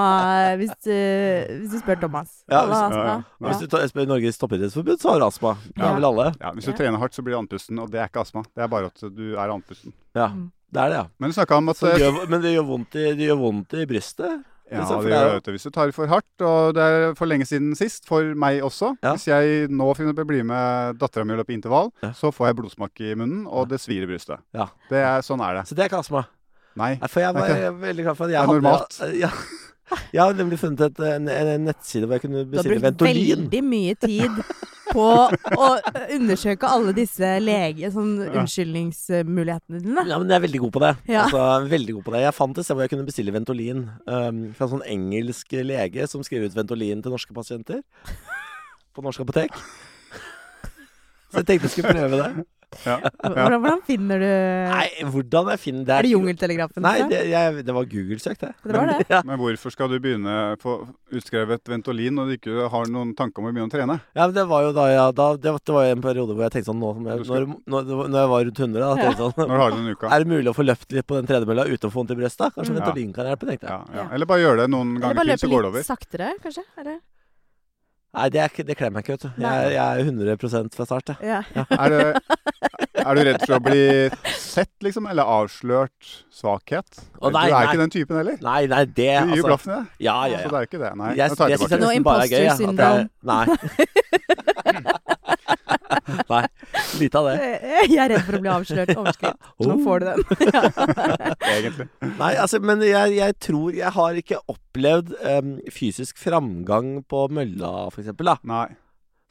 Speaker 1: eh, hvis du, hvis du spør Thomas.
Speaker 3: Ja,
Speaker 1: alle har
Speaker 2: hvis-
Speaker 1: astma.
Speaker 2: ja, ja.
Speaker 3: Hvis du tar- spør Norges toppidrettsforbund, så har du astma. Det
Speaker 1: Ja.
Speaker 3: har vel alle.
Speaker 2: Ja, hvis du trener hardt, så blir du andpusten, og det er ikke astma. Det er bare at du er andpusten.
Speaker 3: Ja,
Speaker 1: Mm.
Speaker 3: det er det, ja.
Speaker 2: Men du snakka om at
Speaker 3: Det gjør, men det gjør, vondt i, det gjør vondt i brystet.
Speaker 2: Ja,
Speaker 3: liksom, for
Speaker 2: det
Speaker 3: det
Speaker 2: gjør
Speaker 3: er jo-
Speaker 2: det. vet du. Hvis du tar for hardt, og det er for lenge siden sist, for meg også
Speaker 3: Ja.
Speaker 2: Hvis jeg nå for eksempel blir med dattera mi og løper intervall,
Speaker 3: Ja.
Speaker 2: så får jeg blodsmak i munnen, og det svir i brystet.
Speaker 3: Ja.
Speaker 2: Det er, sånn er det.
Speaker 3: Så det er ikke astma.
Speaker 2: Nei.
Speaker 3: Nei, For jeg var
Speaker 2: Det er
Speaker 3: jeg er veldig glad for at
Speaker 2: Det
Speaker 3: jeg
Speaker 2: er normalt.
Speaker 3: [LAUGHS] Ja, jeg har nemlig funnet et, en, en nettside hvor jeg kunne
Speaker 1: Du har
Speaker 3: bestille
Speaker 1: brukt
Speaker 3: Ventolin.
Speaker 1: veldig mye tid på å undersøke alle disse lege... Sånn unnskyldningsmulighetene dine.
Speaker 3: Ja, men jeg er veldig god på det.
Speaker 1: Ja.
Speaker 3: Altså, veldig god på det. Jeg fant et sted hvor jeg kunne bestille Ventolin um, fra en sånn engelsk lege som skriver ut Ventolin til norske pasienter. På norsk apotek. Så jeg tenkte jeg skulle prøve det.
Speaker 2: Ja.
Speaker 1: Hvordan, hvordan finner du
Speaker 3: Nei, hvordan jeg finner det
Speaker 1: Er det Jungeltelegrafen?
Speaker 3: Nei,
Speaker 1: liksom?
Speaker 3: det, jeg, det var Google-søk, det.
Speaker 1: Det var det.
Speaker 3: Ja.
Speaker 2: Men hvorfor skal du begynne på utskrevet Ventolin når du ikke har noen tanke om å begynne å trene?
Speaker 3: Ja, men det var jo da, ja, da det, var- det var jo en periode hvor jeg tenkte sånn nå, som
Speaker 2: Du
Speaker 3: jeg-
Speaker 2: skal-
Speaker 3: når, når, når jeg var rundt 100, da, tenkte jeg sånn
Speaker 2: Når har du den i uka?
Speaker 3: [LAUGHS] Er det mulig å få løpt litt på den tredemølla uten å få vondt i brystet? Kanskje
Speaker 1: Mm.
Speaker 3: Ventolin kan hjelpe, tenkte jeg.
Speaker 2: Ja, ja. Eller bare gjør det noen
Speaker 1: Eller
Speaker 2: ganger
Speaker 1: bare
Speaker 2: til, så
Speaker 1: løpe
Speaker 2: går det
Speaker 1: litt
Speaker 2: over.
Speaker 1: saktere, kanskje? Eller?
Speaker 3: Nei, det, er, ikke- det kler meg ikke, vet du.
Speaker 1: Nei.
Speaker 3: Jeg, jeg er 100 fra start, jeg.
Speaker 1: Ja.
Speaker 2: [LAUGHS] Er, det, er du redd for å bli sett, liksom? Eller avslørt svakhet?
Speaker 3: Å,
Speaker 2: du
Speaker 3: nei,
Speaker 2: er
Speaker 3: nei.
Speaker 2: ikke den typen heller.
Speaker 3: Nei, nei, det
Speaker 2: Du gir jo
Speaker 3: altså,
Speaker 2: blaffen i det.
Speaker 3: Ja, ja,
Speaker 2: Så det
Speaker 3: ja.
Speaker 2: er jo ikke det. Nei,
Speaker 3: Jeg,
Speaker 2: nå tar
Speaker 3: jeg
Speaker 2: jeg
Speaker 3: syns det
Speaker 2: tilbake.
Speaker 1: Noe
Speaker 3: nesten bare er gøy. ja, at jeg- Nei. nei. Lite av
Speaker 1: [LAUGHS]
Speaker 3: det.
Speaker 1: Jeg er redd for å bli
Speaker 2: [LAUGHS]
Speaker 1: avslørt. Overskrift. Nå
Speaker 3: Oh.
Speaker 1: Sånn får du den.
Speaker 2: Oh.
Speaker 1: [LAUGHS]
Speaker 2: egentlig.
Speaker 3: Nei, altså, men jeg, jeg tror Jeg har ikke opplevd em, fysisk framgang på mølla, for eksempel, da.
Speaker 2: Nei.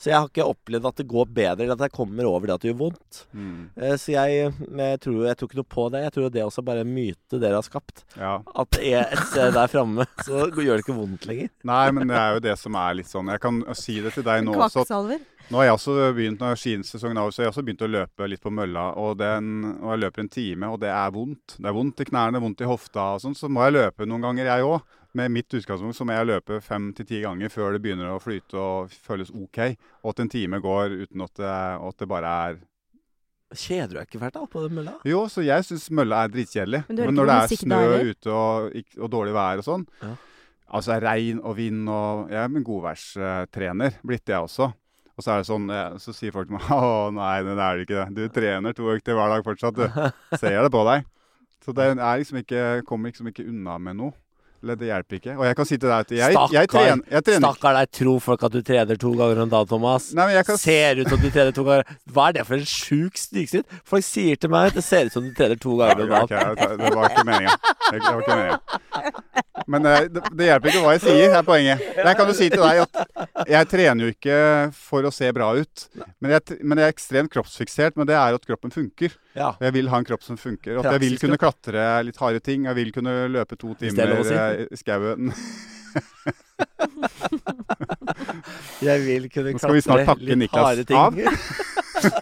Speaker 3: Så jeg har ikke opplevd at det går bedre, eller at jeg kommer over det at det gjør vondt.
Speaker 2: Mm.
Speaker 3: Eh, Så jeg, men jeg, tror, jeg tror ikke noe på det. Jeg tror det er også bare en myte dere har skapt.
Speaker 2: Ja.
Speaker 3: At det er et sted der framme, [LAUGHS] så gjør det ikke vondt lenger.
Speaker 2: Nei, men det er jo det som er litt sånn [LAUGHS] Jeg kan si det til deg nå også. at
Speaker 1: Kvakksalver.
Speaker 2: Nå har jeg også begynt, når skisesongen er over, så har jeg også begynt å løpe litt på mølla. Og, den, og jeg løper en time, og det er vondt. Det er vondt i knærne, vondt i hofta og sånn. Så må jeg løpe noen ganger, jeg òg. Med mitt utgangspunkt så må jeg løpe fem til ti ganger før det begynner å flyte og føles OK. Og at en time går uten at det, og at det bare er
Speaker 3: Kjeder du deg ikke fælt da, på den mølla?
Speaker 2: Jo, så jeg syns mølla er dritkjedelig.
Speaker 1: Men
Speaker 2: Men,
Speaker 1: du hører ikke
Speaker 2: når det
Speaker 1: på
Speaker 2: er
Speaker 1: musikk
Speaker 2: snø
Speaker 1: da, eller?
Speaker 2: ute og, ikk- og dårlig vær og sånn
Speaker 3: Ja.
Speaker 2: Altså regn og vind og Jeg er en godværstrener blitt, jeg også. Og så er det sånn, eh, så sier folk til meg [LAUGHS] Å nei, det er du ikke. det. Du trener to økter hver dag fortsatt,
Speaker 3: [LAUGHS]
Speaker 2: du. Ser jeg det på deg. Så det er liksom ikke, kommer liksom ikke unna med noe. Eller det hjelper ikke. Og jeg kan si til deg at jeg, jeg, trener, jeg trener
Speaker 3: stakkar deg, tror folk at du trener to ganger om dagen, Thomas.
Speaker 2: Nei, men jeg kan-
Speaker 3: Ser ut som du trener to ganger Hva er det for en sjuk snikskritt? Folk sier til meg at det ser ut som du trener to ganger om
Speaker 2: Ja,
Speaker 3: dagen.
Speaker 2: ok, det- det var ikke meninga. Det det var ikke meningen. Men eh, det, det hjelper ikke hva jeg sier, er poenget. Jeg kan jo si til deg at jeg trener jo ikke for å se bra ut. Men jeg, t- men jeg er ekstremt kroppsfiksert, men det er at kroppen funker.
Speaker 3: Ja.
Speaker 2: Jeg vil ha en kropp som funker. At jeg vil
Speaker 3: Praktisk
Speaker 2: kunne klatre litt harde ting. Jeg vil kunne løpe to
Speaker 3: det er
Speaker 2: timer
Speaker 3: lov å si.
Speaker 2: eh, i skauen.
Speaker 3: Jeg vil kunne
Speaker 2: Nå skal vi snart
Speaker 3: klatre
Speaker 2: takke
Speaker 3: litt
Speaker 2: Niklas
Speaker 3: harde ting.
Speaker 2: av.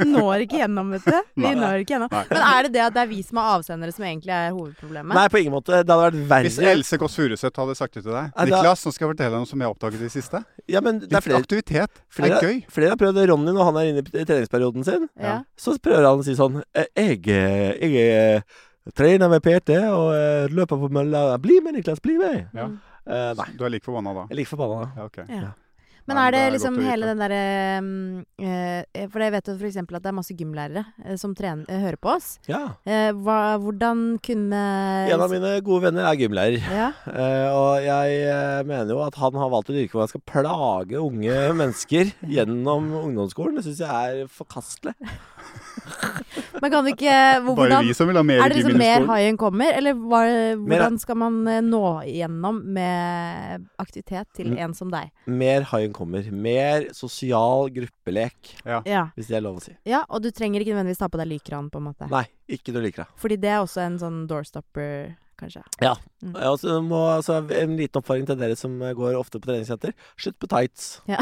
Speaker 1: Når ikke gjennom, vet du. Vi
Speaker 2: Nei.
Speaker 1: når ikke gjennom.
Speaker 2: Nei.
Speaker 1: Men er det det at det er vi som er avsendere som egentlig er hovedproblemet?
Speaker 3: Nei, på ingen måte. Det hadde vært
Speaker 2: Hvis
Speaker 3: verre.
Speaker 2: Else Kåss Furuseth hadde sagt det til deg
Speaker 3: Ja, da-
Speaker 2: Niklas, nå skal jeg fortelle deg noe som jeg har oppdaget i det siste.
Speaker 3: Ja, men det er
Speaker 2: Litt
Speaker 3: flere,
Speaker 2: aktivitet er
Speaker 3: flere,
Speaker 2: gøy.
Speaker 3: flere har prøvd det. Ronny, når han er inne i treningsperioden sin,
Speaker 1: Ja.
Speaker 3: så prøver han å si sånn eh, Jeg, eh, jeg eh, trener med PT og eh, løper på mølla. Bli med, Niklas. Bli med.
Speaker 2: Ja.
Speaker 3: Eh, nei.
Speaker 2: Du er like forbanna da.
Speaker 3: Jeg er like forbanna da.
Speaker 2: Ja, ok.
Speaker 1: Ja. Men
Speaker 2: Nei,
Speaker 1: er det
Speaker 2: det er
Speaker 1: liksom
Speaker 2: godt å vite.
Speaker 1: hele den derre um, eh, For jeg vet jo f.eks. at det er masse gymlærere eh, som trener, eh, hører på oss.
Speaker 3: Ja.
Speaker 1: Eh, hva, hvordan kunne
Speaker 3: En av mine gode venner er gymlærer.
Speaker 1: Ja.
Speaker 3: Eh, og jeg eh, mener jo at han har valgt et yrke hvor han skal plage unge mennesker gjennom ungdomsskolen. Det syns jeg er forkastelig.
Speaker 1: Men kan du ikke hvor-
Speaker 2: Bare
Speaker 1: hvordan,
Speaker 2: vi som vil ha mer
Speaker 1: Er det
Speaker 2: gym
Speaker 1: liksom
Speaker 2: i
Speaker 1: mer
Speaker 2: skolen.
Speaker 1: haien kommer, eller hva,
Speaker 3: Mer-
Speaker 1: hvordan skal man eh, nå igjennom med aktivitet til
Speaker 3: Mm.
Speaker 1: en som deg?
Speaker 3: Mer haien kommer. Mer sosial gruppelek,
Speaker 1: Ja.
Speaker 3: hvis det er lov å si.
Speaker 1: ja, og du trenger ikke nødvendigvis ta på deg lykran, på en måte.
Speaker 3: Nei, ikke noe liker det.
Speaker 1: Fordi det er også en sånn doorstopper, kanskje.
Speaker 3: Ja.
Speaker 1: Mm.
Speaker 3: Og så må, så en liten oppfordring til dere som går ofte på treningssenter. Slutt på tights.
Speaker 2: Ja,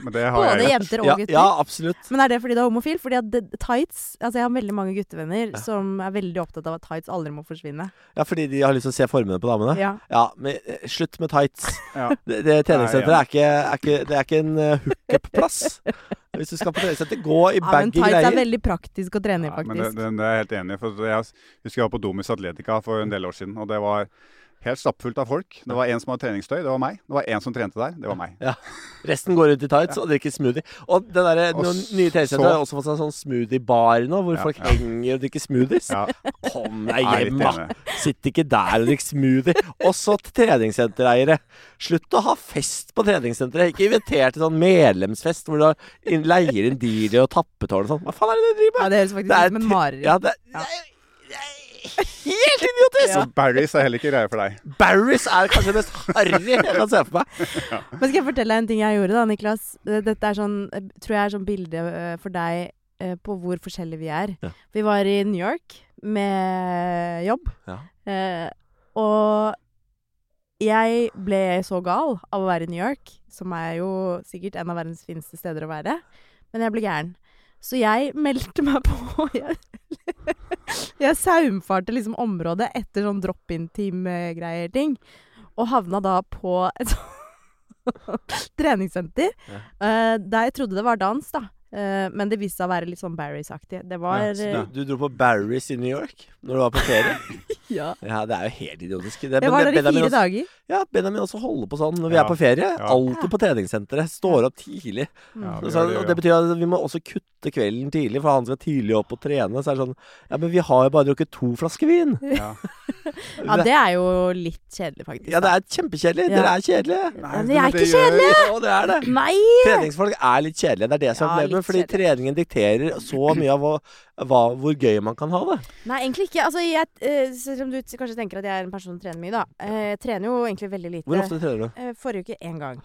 Speaker 2: men det har
Speaker 1: Både
Speaker 2: jeg.
Speaker 1: jenter og
Speaker 3: Ja,
Speaker 1: gutter.
Speaker 3: ja, absolutt.
Speaker 1: Men er det fordi du er homofil? Fordi at det, tights Altså Jeg har veldig mange guttevenner som er veldig opptatt av at tights aldri må forsvinne.
Speaker 3: Ja, fordi de har lyst til å se formene på damene.
Speaker 1: Ja.
Speaker 3: Ja, men eh, slutt med tights.
Speaker 2: Ja.
Speaker 3: Det, det treningssenteret
Speaker 2: Nei,
Speaker 3: er ikke, er ikke, det er ikke en eh, hookup-plass. Hvis du skal på treningssenter, gå i
Speaker 1: ja, men
Speaker 3: baggy
Speaker 1: tights er
Speaker 3: greier.
Speaker 1: veldig praktisk å trene i,
Speaker 2: Ja, men det,
Speaker 1: faktisk.
Speaker 2: det, det er jeg helt enig i. For jeg husker jeg var på Domus Atletica for en del år siden. Og det var helt stappfullt av folk. Det var en som hadde treningstøy, det var meg. Det var en som trente der, det var meg.
Speaker 3: Ja. Resten går rundt i tights og drikker smoothie. Og det derre
Speaker 2: Og
Speaker 3: noen nye treningssentre
Speaker 2: så-
Speaker 3: har også fått seg sånn smoothie-bar nå, hvor
Speaker 2: Ja,
Speaker 3: folk
Speaker 2: ja.
Speaker 3: henger og drikker smoothies.
Speaker 2: Ja,
Speaker 3: Kom deg
Speaker 2: jeg er litt
Speaker 3: hjem, da!
Speaker 2: enig.
Speaker 3: Sitt ikke der og drikk smoothie. Også til treningssentereiere. Slutt å ha fest på treningssenteret. Ikke inviter til sånn medlemsfest hvor du har- inn- leier inn DJ og tappetårn og sånn. Hva faen er det du driver med?
Speaker 1: Ja, det høres faktisk
Speaker 3: Det er
Speaker 1: ut som en
Speaker 3: tre-
Speaker 1: mareritt.
Speaker 3: Ja, det, det er, det er helt idiotisk!
Speaker 2: Så Barry's er heller ikke greie for deg.
Speaker 3: Barry's er kanskje det mest harry jeg kan se for meg.
Speaker 1: Men skal jeg fortelle deg en ting jeg gjorde da, Niklas? Eh, Dette er sånn, eh, tror jeg er sånn bilde eh, for deg eh, på hvor forskjellige vi er.
Speaker 3: Ja.
Speaker 1: Vi var i New York med jobb,
Speaker 3: Ja.
Speaker 1: eh, og jeg ble så gal av å være i New York, som er jo sikkert en av verdens fineste steder å være, men jeg ble gæren. Så jeg [LAUGHS] meldte meg på Jeg, jeg saumfarte liksom området etter sånn drop-in-team-greier-ting, og havna da på et [LAUGHS] treningssenter. eh, der jeg trodde det var dans, da. Eh, men det viste seg å være litt sånn Barry's-aktig. Det var
Speaker 2: Ja,
Speaker 1: Ja.
Speaker 2: så
Speaker 1: eh,
Speaker 3: Du, du dro på Barry's i New York når du var på ferie.
Speaker 1: ja.
Speaker 3: Ja, Det er jo helt idiotisk. Det,
Speaker 1: Jeg
Speaker 3: men
Speaker 1: var
Speaker 3: det-
Speaker 1: der i fire
Speaker 3: Benjamin også-
Speaker 1: dager.
Speaker 3: Ja, Benjamin også holder på sånn når vi
Speaker 2: Ja,
Speaker 3: er på ferie.
Speaker 2: ja.
Speaker 3: Alltid på treningssenteret. Står opp tidlig.
Speaker 1: Mm.
Speaker 2: Ja, vi
Speaker 3: Og
Speaker 2: gjør
Speaker 3: så,
Speaker 2: det,
Speaker 3: og
Speaker 2: ja.
Speaker 3: det betyr at vi må også kutte kvelden tidlig, for han skal tidlig opp og trene. Så er det sånn Ja, men vi har jo bare drukket to flasker vin.
Speaker 2: Ja.
Speaker 1: Ja, det er jo litt kjedelig, faktisk.
Speaker 3: Ja, det
Speaker 1: da.
Speaker 3: er kjempekjedelig.
Speaker 1: Ja.
Speaker 3: Dere er kjedelige.
Speaker 1: Men
Speaker 2: men
Speaker 1: jeg er
Speaker 2: det
Speaker 1: ikke
Speaker 2: gjør-
Speaker 1: kjedelig!
Speaker 3: Å, det er det.
Speaker 1: Nei!
Speaker 3: Treningsfolk er litt kjedelige. Det er det som
Speaker 1: Ja,
Speaker 3: er
Speaker 1: litt
Speaker 3: problemet. Fordi
Speaker 1: kjedelige.
Speaker 3: treningen dikterer så mye av hva, hva, hvor gøy man kan ha det.
Speaker 1: Nei, egentlig ikke. Altså, jeg, eh, selv om du t- kanskje tenker at jeg er en person som trener mye, da. Eh, jeg trener jo egentlig veldig lite.
Speaker 3: Hvor ofte trener du?
Speaker 1: Eh, Forrige uke én gang.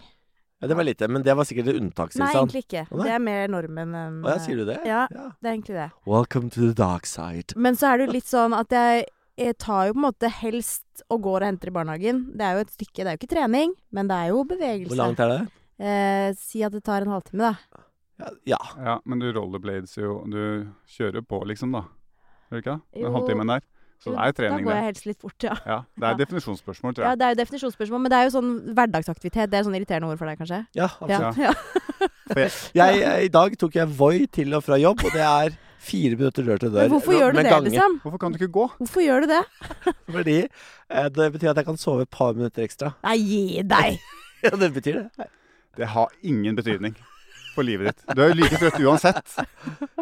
Speaker 3: Ja, det var lite, men det var sikkert et
Speaker 1: Nei,
Speaker 3: unntakstilstand.
Speaker 1: egentlig ikke.
Speaker 3: sånn? Å, nei.
Speaker 1: Det er mer normen enn
Speaker 3: Å ja, sier du det?
Speaker 1: Ja. Det er egentlig det.
Speaker 3: Welcome to the dark side.
Speaker 1: Men så er det jo litt sånn at jeg, jeg tar jo på en måte helst og går og henter i barnehagen. Det er jo et stykke, det er jo ikke trening, men det er jo bevegelse.
Speaker 3: Hvor langt er det?
Speaker 1: Eh, si at det tar en halvtime, da.
Speaker 3: Ja, ja.
Speaker 2: Ja, men du rollerblades jo Du kjører på, liksom, da. Gjør du ikke det?
Speaker 1: Jo.
Speaker 2: Den halvtimen der. Så det er jo trening,
Speaker 1: Da går
Speaker 2: det.
Speaker 1: jeg helst litt fort, ja.
Speaker 2: Ja, det er
Speaker 1: Ja.
Speaker 2: definisjonsspørsmål, tror
Speaker 1: ja.
Speaker 2: jeg.
Speaker 1: Det er jo definisjonsspørsmål, men det er jo sånn hverdagsaktivitet. Det er sånn irriterende ord for deg, kanskje?
Speaker 3: Altså, ja absolutt.
Speaker 1: Ja. ja.
Speaker 2: For jeg,
Speaker 3: Jeg, jeg, I dag tok jeg Voi til og fra jobb, og det er fire minutter dør til dør.
Speaker 1: Men hvorfor gjør du
Speaker 3: med
Speaker 1: det,
Speaker 3: gange.
Speaker 1: liksom?
Speaker 2: hvorfor kan du ikke gå?
Speaker 1: Hvorfor gjør du det?
Speaker 3: Fordi eh, det betyr at jeg kan sove et par minutter
Speaker 2: [LAUGHS]
Speaker 3: ekstra.
Speaker 1: Nei, gi deg!
Speaker 3: Ja, det betyr det.
Speaker 2: Det har ingen betydning for livet ditt. Du er jo like trøtt uansett.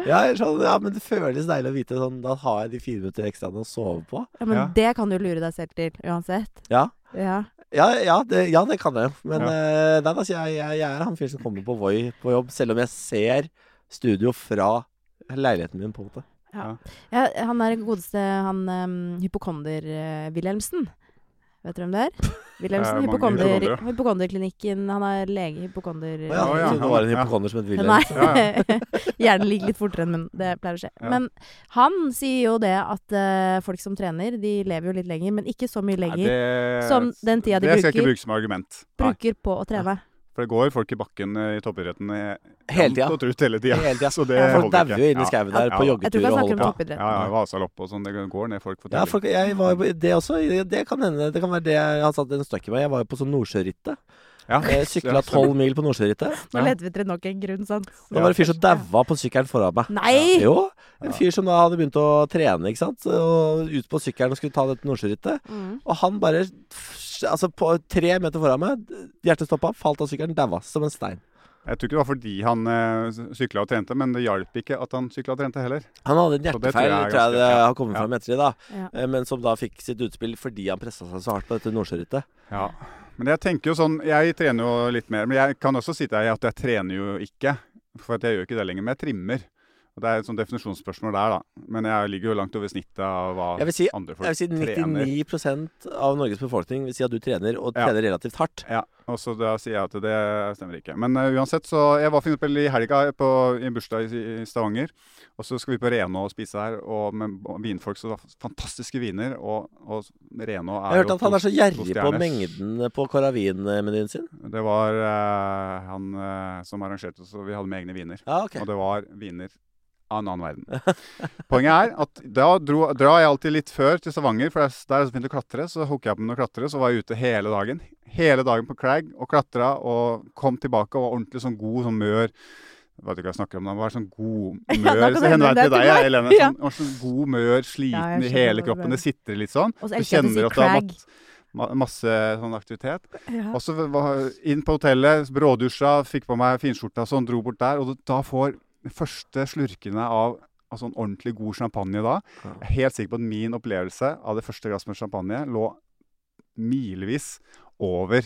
Speaker 3: Ja, jeg er sånn, ja, men det føles deilig å vite sånn Da har jeg de fire minutter ekstra å sove på.
Speaker 1: Ja, men
Speaker 2: Ja.
Speaker 1: det kan du lure deg selv til, uansett.
Speaker 3: Ja.
Speaker 1: Ja.
Speaker 3: Ja, ja, det, ja, det kan jeg jo. Men
Speaker 2: Ja.
Speaker 3: eh, nei, altså, jeg, jeg, jeg er han fyren som kommer på Voi på jobb, selv om jeg ser studio fra leiligheten min, på en måte.
Speaker 1: Ja, han er godeste han um, hypokonder-Wilhelmsen. Vet du hvem det er? Wilhelmsen,
Speaker 2: Det er mange
Speaker 1: hypokonder,
Speaker 2: hypokondere.
Speaker 1: hypokonderklinikken. Han er lege, hypokonder...
Speaker 3: Å, ja,
Speaker 2: Å, ja.
Speaker 3: Så det var en
Speaker 2: Ja.
Speaker 3: hypokonder som het Wilhelm.
Speaker 1: [LAUGHS] Nei.
Speaker 2: Ja,
Speaker 1: Hjernen ligger litt fortere enn munnen. Det pleier å skje.
Speaker 2: Ja.
Speaker 1: Men han sier jo det at eh, folk som trener, de lever jo litt lenger, men ikke så mye lenger.
Speaker 2: det,
Speaker 1: Som den tida de
Speaker 2: det skal jeg ikke
Speaker 1: bruker.
Speaker 2: bruke som argument. Nei.
Speaker 1: Bruker på å trene.
Speaker 2: For det går folk i bakken eh, i toppidretten eh,
Speaker 3: Hele
Speaker 2: jevnt og
Speaker 3: tida.
Speaker 2: trutt hele tida.
Speaker 3: Hele tida.
Speaker 2: [LAUGHS] Så det
Speaker 3: Folk
Speaker 2: holder
Speaker 3: dauer
Speaker 2: ikke.
Speaker 3: jo inn i
Speaker 2: Ja.
Speaker 3: skauen der på
Speaker 1: Jeg tror ikke
Speaker 2: Ja.
Speaker 3: joggetur
Speaker 1: han snakker
Speaker 3: og holder
Speaker 1: om
Speaker 3: på.
Speaker 2: Ja,
Speaker 1: toppidrett.
Speaker 2: ja, Vasalopp og sånn. Det går ned folk for
Speaker 3: Ja,
Speaker 2: tidlig.
Speaker 3: folk, jeg var jo på, det også. Det kan hende. Det kan være det han satte en støkk i meg. Jeg var jo på sånn
Speaker 2: Ja.
Speaker 3: Nordsjørittet.
Speaker 2: [LAUGHS]
Speaker 3: Eh, Sykla tolv mil på Nordsjørittet.
Speaker 1: Nå
Speaker 2: Ja.
Speaker 1: leter vi etter nok en grunn, sant?
Speaker 3: Da var det en fyr som daua på sykkelen foran meg.
Speaker 1: Nei!
Speaker 3: Jo, en fyr som da hadde begynt å trene, ikke sant. Og ut på sykkelen og skulle ta dette Nordsjørittet.
Speaker 1: Mm.
Speaker 3: Og han bare Altså, på tre meter foran meg, hjertet stoppa, falt av sykkelen, daua som en stein.
Speaker 2: Jeg tror ikke det var fordi han eh, sykla og trente, men det hjalp ikke at han sykla og trente heller.
Speaker 3: Han hadde en
Speaker 2: Så det tror
Speaker 3: hjertefeil,
Speaker 2: jeg er
Speaker 3: tror jeg
Speaker 2: ganske-
Speaker 3: det
Speaker 2: ja.
Speaker 3: har kommet
Speaker 2: Ja.
Speaker 3: fram i ettertid, da.
Speaker 1: Ja.
Speaker 3: Eh, Men som da fikk sitt utspill fordi han pressa seg så hardt på dette Nordsjørittet.
Speaker 2: Ja. Men jeg tenker jo sånn Jeg trener jo litt mer, men jeg kan også si til deg at jeg trener jo ikke. For at jeg gjør ikke det lenger, men jeg trimmer. Og Det er et sånt definisjonsspørsmål der, da. Men jeg ligger jo langt over snittet av hva
Speaker 3: Jeg vil si-
Speaker 2: andre folk
Speaker 3: Jeg vil si
Speaker 2: trener.
Speaker 3: 99 av Norges befolkning vil si at du trener, og
Speaker 2: Ja.
Speaker 3: trener relativt hardt.
Speaker 2: Ja, og så da sier jeg at det stemmer ikke. Men eh, uansett, så Jeg var for eksempel i helga på, i en bursdag i, i Stavanger. Og så skal vi på Renå og spise her, og med vinfolk. Så det var fantastiske viner. Og, og Renå er
Speaker 3: Jeg hørte at han er så gjerrig på
Speaker 2: stjerner.
Speaker 3: mengden på Coravin-menyen sin.
Speaker 2: Det var eh, han eh, som arrangerte, så vi hadde med egne viner.
Speaker 3: Ja, ok.
Speaker 2: Og det var viner av en annen verden. Poenget er at da dro, drar jeg alltid litt før til Stavanger, for der der er det så fint å klatre. Så hooka jeg på med å klatre, så var jeg ute hele dagen. Hele dagen på Crag og klatra og kom tilbake og var ordentlig sånn god, sånn mør. Jeg vet ikke hva jeg snakker om, da, men var sånn
Speaker 1: [LAUGHS]
Speaker 2: god
Speaker 1: Ja, da
Speaker 2: mør.
Speaker 1: kan
Speaker 2: så
Speaker 1: det hende
Speaker 2: henvender jeg til
Speaker 1: det er
Speaker 2: deg, jeg,
Speaker 1: til
Speaker 2: Helene.
Speaker 1: meg. Ja.
Speaker 2: Sånn, ordentlig sånn god, mør,
Speaker 1: Ja, jeg
Speaker 2: sliten i
Speaker 1: skjønner
Speaker 2: hele
Speaker 1: hva du
Speaker 2: kroppen.
Speaker 1: mener.
Speaker 2: Det sitter litt sånn.
Speaker 1: Og så
Speaker 2: Du
Speaker 1: elsker jeg at du
Speaker 2: kjenner
Speaker 1: sier
Speaker 2: at du har
Speaker 1: crag.
Speaker 2: mat, ma- masse sånn aktivitet.
Speaker 1: Ja.
Speaker 2: Og så var- inn på hotellet, brådusja, fikk på meg finskjorta sånn, dro bort der. Og da får de første slurkene av av sånn ordentlig god champagne da. Jeg er helt sikker på at min opplevelse av det første glasset med champagne lå milevis over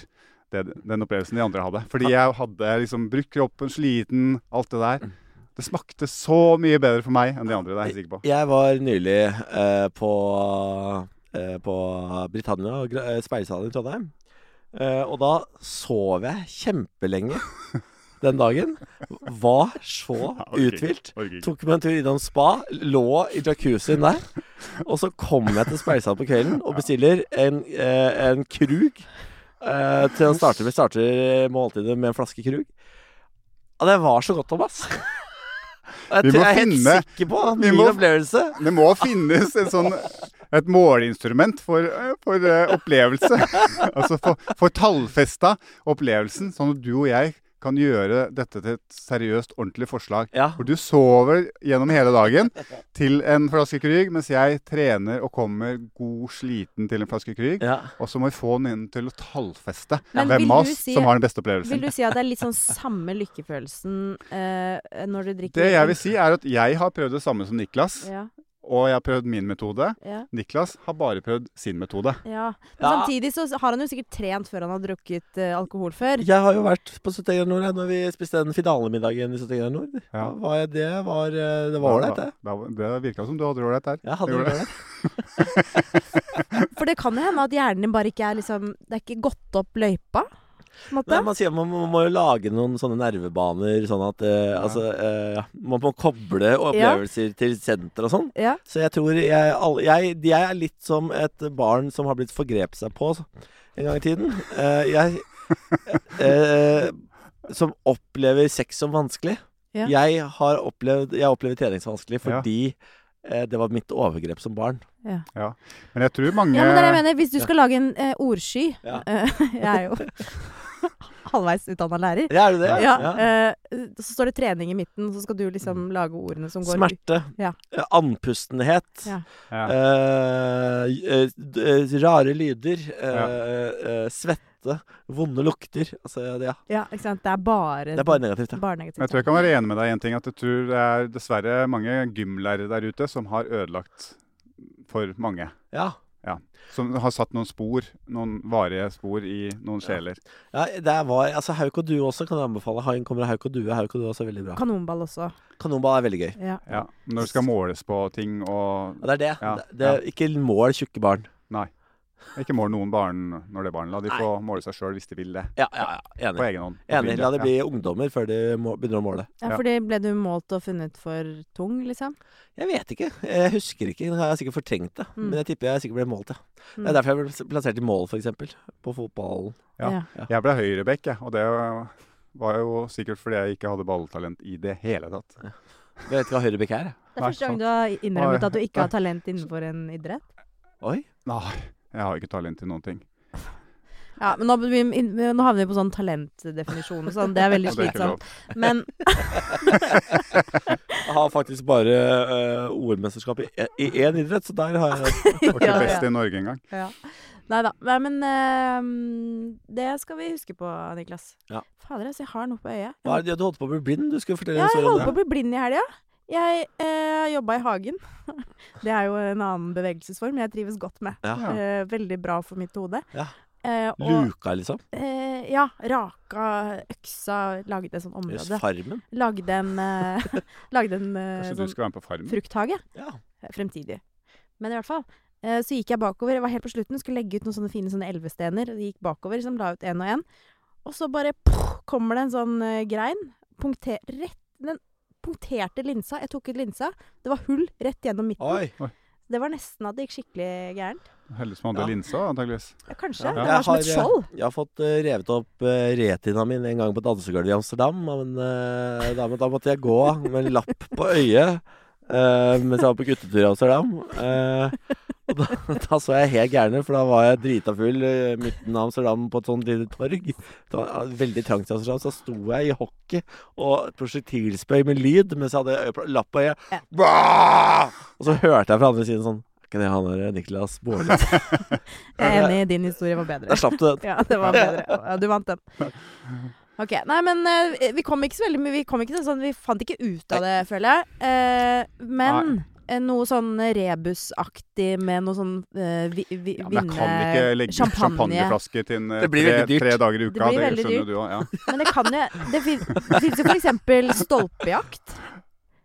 Speaker 2: det, den opplevelsen de andre hadde. Fordi jeg hadde liksom brukt kroppen, sliten, alt det der. Det smakte så mye bedre for meg enn de andre, det er jeg sikker på.
Speaker 3: Jeg var nylig eh, på, eh, på Britannia, og gra- eh, Speilsalen i Trondheim. Eh, og da sov jeg
Speaker 2: [LAUGHS]
Speaker 3: kjempelenge den dagen. Var så
Speaker 2: Ja, orker ikke,
Speaker 3: uthvilt.
Speaker 2: orker ikke.
Speaker 3: Tok meg en tur innom spa, lå i jacuzzien der. Og så kommer jeg til Speilsalen på kvelden og bestiller en, eh, en krug. Eh, til å starte med starter måltidet med en flaske krug. Og det var så godt, Thomas. Jeg,
Speaker 2: Vi
Speaker 3: tror-
Speaker 2: må
Speaker 3: jeg er helt
Speaker 2: finne-
Speaker 3: sikker på at
Speaker 2: vi
Speaker 3: min
Speaker 2: må-
Speaker 3: opplevelse
Speaker 2: Det må finnes en sånn, et måleinstrument for, for eh, opplevelse. [LAUGHS] altså for, for tallfesta opplevelsen, sånn at du og jeg kan gjøre dette til et seriøst, ordentlig forslag.
Speaker 3: Ja.
Speaker 2: For du sover gjennom hele dagen til en flaske Krüg, mens jeg trener og kommer god sliten til en flaske Krüg.
Speaker 3: Ja.
Speaker 2: Og så må vi få noen til å tallfeste
Speaker 1: Men vil
Speaker 2: hvem av
Speaker 1: du
Speaker 2: oss
Speaker 1: si-
Speaker 2: som har den beste
Speaker 1: Vil
Speaker 2: opplevelsen.
Speaker 1: du si at det er litt sånn samme lykkefølelsen eh, når du drikker
Speaker 2: Det jeg vil si, er at jeg har prøvd det samme som Niklas,
Speaker 1: Ja,
Speaker 2: og jeg har prøvd min metode.
Speaker 1: ja,
Speaker 2: Niklas har bare prøvd sin metode.
Speaker 1: ja. Men
Speaker 3: Ja.
Speaker 1: samtidig så har han jo sikkert trent før han har drukket eh, alkohol før.
Speaker 3: Jeg har jo vært på 70 grader nord jeg, når vi spiste den finalemiddagen i 70 grader nord.
Speaker 2: Ja.
Speaker 3: Da Var jeg, det var eh, Det var ålreit, det.
Speaker 2: Da, da, det virka som du hadde det ålreit der.
Speaker 3: Jeg hadde
Speaker 2: Gjorde
Speaker 3: det.
Speaker 2: det.
Speaker 1: For det kan jo hende at hjernen din bare ikke er liksom Det er ikke gått opp løypa, på en måte.
Speaker 3: Nei, man sier man, man må jo lage noen sånne nervebaner, sånn at eh, Altså eh, ja, Man må koble opplevelser til senter og sånn.
Speaker 1: ja.
Speaker 3: Så jeg tror jeg, alle- jeg, jeg er litt som et barn som har blitt forgrepet seg på en gang i tiden.
Speaker 1: [LAUGHS]
Speaker 3: Eh, jeg eh, Som opplever sex som vanskelig.
Speaker 1: Ja.
Speaker 3: Jeg har opplevd Jeg opplever treningsvanskelig
Speaker 2: Ja.
Speaker 3: fordi eh, det var mitt overgrep som barn.
Speaker 2: Men jeg tror mange
Speaker 1: Ja, men det er det jeg mener. Hvis du
Speaker 3: Ja.
Speaker 1: skal lage en eh, ordsky
Speaker 3: Ja.
Speaker 1: eh, [LAUGHS] Jeg er jo halvveis utdanna lærer.
Speaker 3: Ja, er det det?
Speaker 1: Ja, eh, så står det trening i midten, så skal du liksom lage ordene som går ut.
Speaker 3: Smerte.
Speaker 1: Ja.
Speaker 3: eh, Andpustenhet.
Speaker 1: Ja.
Speaker 2: Ja.
Speaker 3: eh, eh, d- eh, rare lyder. eh,
Speaker 2: Ja.
Speaker 3: eh, svette. Vonde lukter. Altså, ja.
Speaker 1: Ja, ikke sant. Det er bare,
Speaker 3: Det er bare negativt. Ja.
Speaker 1: bare
Speaker 2: Men
Speaker 1: negativt.
Speaker 2: jeg tror jeg kan være enig med deg i en ting, at jeg tror det er dessverre mange gymlærere der ute som har ødelagt for mange.
Speaker 3: Ja.
Speaker 2: Som har satt noen spor, noen varige spor i noen sjeler.
Speaker 3: Ja, det var, altså Hauk og due også kan jeg anbefale. Haien kommer av hauk og due. Hauk og due er også veldig bra.
Speaker 1: Kanonball også.
Speaker 3: Kanonball er veldig gøy.
Speaker 1: Ja.
Speaker 2: Ja. Når det skal måles på ting og
Speaker 3: Ja, det er det.
Speaker 2: Ja,
Speaker 3: det, det Ikke mål tjukke barn.
Speaker 2: Ikke mål noen barn når det er barn. La de
Speaker 3: Nei.
Speaker 2: få måle seg sjøl hvis de vil det.
Speaker 3: Ja, ja, ja
Speaker 2: På
Speaker 3: enig.
Speaker 2: egen hånd. på
Speaker 3: Enig.
Speaker 2: frivillig.
Speaker 3: La de bli ungdommer før de må, begynner å måle.
Speaker 1: ja,
Speaker 2: Ja.
Speaker 1: fordi ble du målt og funnet for tung, liksom?
Speaker 3: Jeg vet ikke. Jeg husker ikke. Jeg har sikkert fortrengt det.
Speaker 1: Mm.
Speaker 3: Men jeg tipper jeg sikkert ble målt, ja. Det
Speaker 1: Mm.
Speaker 3: er derfor jeg ble plassert i mål, f.eks. På fotballen.
Speaker 2: Ja. Ja. Jeg ble høyrebekk, jeg. Og det var jo sikkert fordi jeg ikke hadde balltalent i det hele tatt.
Speaker 3: Jeg vet ikke hva høyrebekk er. jeg.
Speaker 1: Det er første gang du
Speaker 2: sånn-
Speaker 1: har innrømmet at du ikke har talent innenfor en idrett.
Speaker 3: Oi.
Speaker 2: Nei, jeg har ikke talent til noen ting.
Speaker 1: Ja, men nå, begynner vi inn- nå havner vi på sånn talentdefinisjon og sånn. Det er veldig
Speaker 2: Og det er ikke
Speaker 1: slitsomt.
Speaker 2: lov. [LAUGHS]
Speaker 1: Men
Speaker 3: Jeg har faktisk bare øh, OL-mesterskap i e- i én idrett, så der har
Speaker 1: [LAUGHS]
Speaker 3: jeg
Speaker 2: Jeg Var
Speaker 1: Ja,
Speaker 2: ikke
Speaker 1: ja.
Speaker 2: best i Norge engang.
Speaker 1: Ja. Nei da. Nei, men eh, det skal vi huske på, Niklas.
Speaker 3: Ja.
Speaker 1: Fader, altså, jeg har noe på øyet.
Speaker 3: Hva er det du holdt på å bli blind? Du skulle fortelle
Speaker 1: Ja,
Speaker 3: en
Speaker 1: jeg
Speaker 3: historie
Speaker 1: holdt på
Speaker 3: om
Speaker 1: å
Speaker 3: det.
Speaker 1: bli blind i helga. Jeg uh, jobba i hagen. [LAUGHS] Det er jo en annen bevegelsesform jeg trives godt med.
Speaker 3: Ja.
Speaker 2: Ja.
Speaker 1: Eh, veldig bra for mitt hode.
Speaker 3: Ja.
Speaker 1: Eh, og
Speaker 3: Luka, liksom.
Speaker 1: eh, ja, raka øksa, lagde et sånt
Speaker 3: Jøss,
Speaker 1: område.
Speaker 3: Farmen.
Speaker 1: Lagde en,
Speaker 3: [LAUGHS]
Speaker 1: eh, lagde en eh,
Speaker 2: Kanskje Altså, du
Speaker 1: sånn
Speaker 2: skal være med på Farmen?
Speaker 1: frukthage.
Speaker 3: Ja.
Speaker 1: eh, fremtidig. Men i hvert fall. eh, Så gikk jeg bakover. Jeg var helt på slutten, skulle legge ut noen sånne fine sånne elvestener. og de Gikk bakover, liksom, la ut én og én. Og så bare poff, kommer det en sånn eh, grein. Punkter, rett, den punkterte linsa. Jeg tok ut linsa. Det var hull rett gjennom midten.
Speaker 3: Oi.
Speaker 1: Det var nesten at det gikk skikkelig gærent.
Speaker 2: Heldig som hadde
Speaker 3: Ja.
Speaker 2: linsa, antageligvis.
Speaker 1: Ja, kanskje.
Speaker 3: Ja.
Speaker 1: Det
Speaker 3: Jeg
Speaker 1: var som et
Speaker 3: har, eh,
Speaker 1: skjold.
Speaker 3: Jeg har fått eh, revet opp eh, retina min en gang på dansegulvet i Amsterdam. av en, eh, dame. da måtte jeg gå med en lapp på øyet eh, mens jeg var på guttetur i Amsterdam. Eh, og da, [LAUGHS] da så jeg helt gæren ut, for da var jeg drita full eh, midten av Amsterdam på et sånt lite torg. Det var eh, veldig trangt i Amsterdam, så sto jeg i hockey og prosjektilspøy med lyd mens jeg hadde øye- lapp på øyet. Bra! Og så hørte jeg fra andre siden sånn Er ikke det han der Niklas Baarli?
Speaker 1: [LAUGHS] Jeg er enig i din historie var bedre.
Speaker 3: Der slapp du den.
Speaker 1: [LAUGHS] Ja, det var bedre. Ja, du
Speaker 2: [LAUGHS]
Speaker 1: vant den. Ok, Nei, men eh, vi kom ikke så veldig mye Vi kom ikke til sånn Vi fant ikke ut av det, føler jeg. Eh, men eh, noe sånn rebusaktig med noe sånn eh, vi, vi,
Speaker 2: Ja, men jeg
Speaker 1: vinne
Speaker 2: kan ikke legge ut champagneflasker til en, eh,
Speaker 3: Det blir
Speaker 2: tre,
Speaker 3: veldig dyrt.
Speaker 2: tre dager i uka.
Speaker 1: blir
Speaker 2: Det,
Speaker 1: veldig
Speaker 2: skjønner
Speaker 1: dyrt.
Speaker 2: du òg. Ja.
Speaker 1: Men det kan jo Det fin, fins jo for eksempel stolpejakt.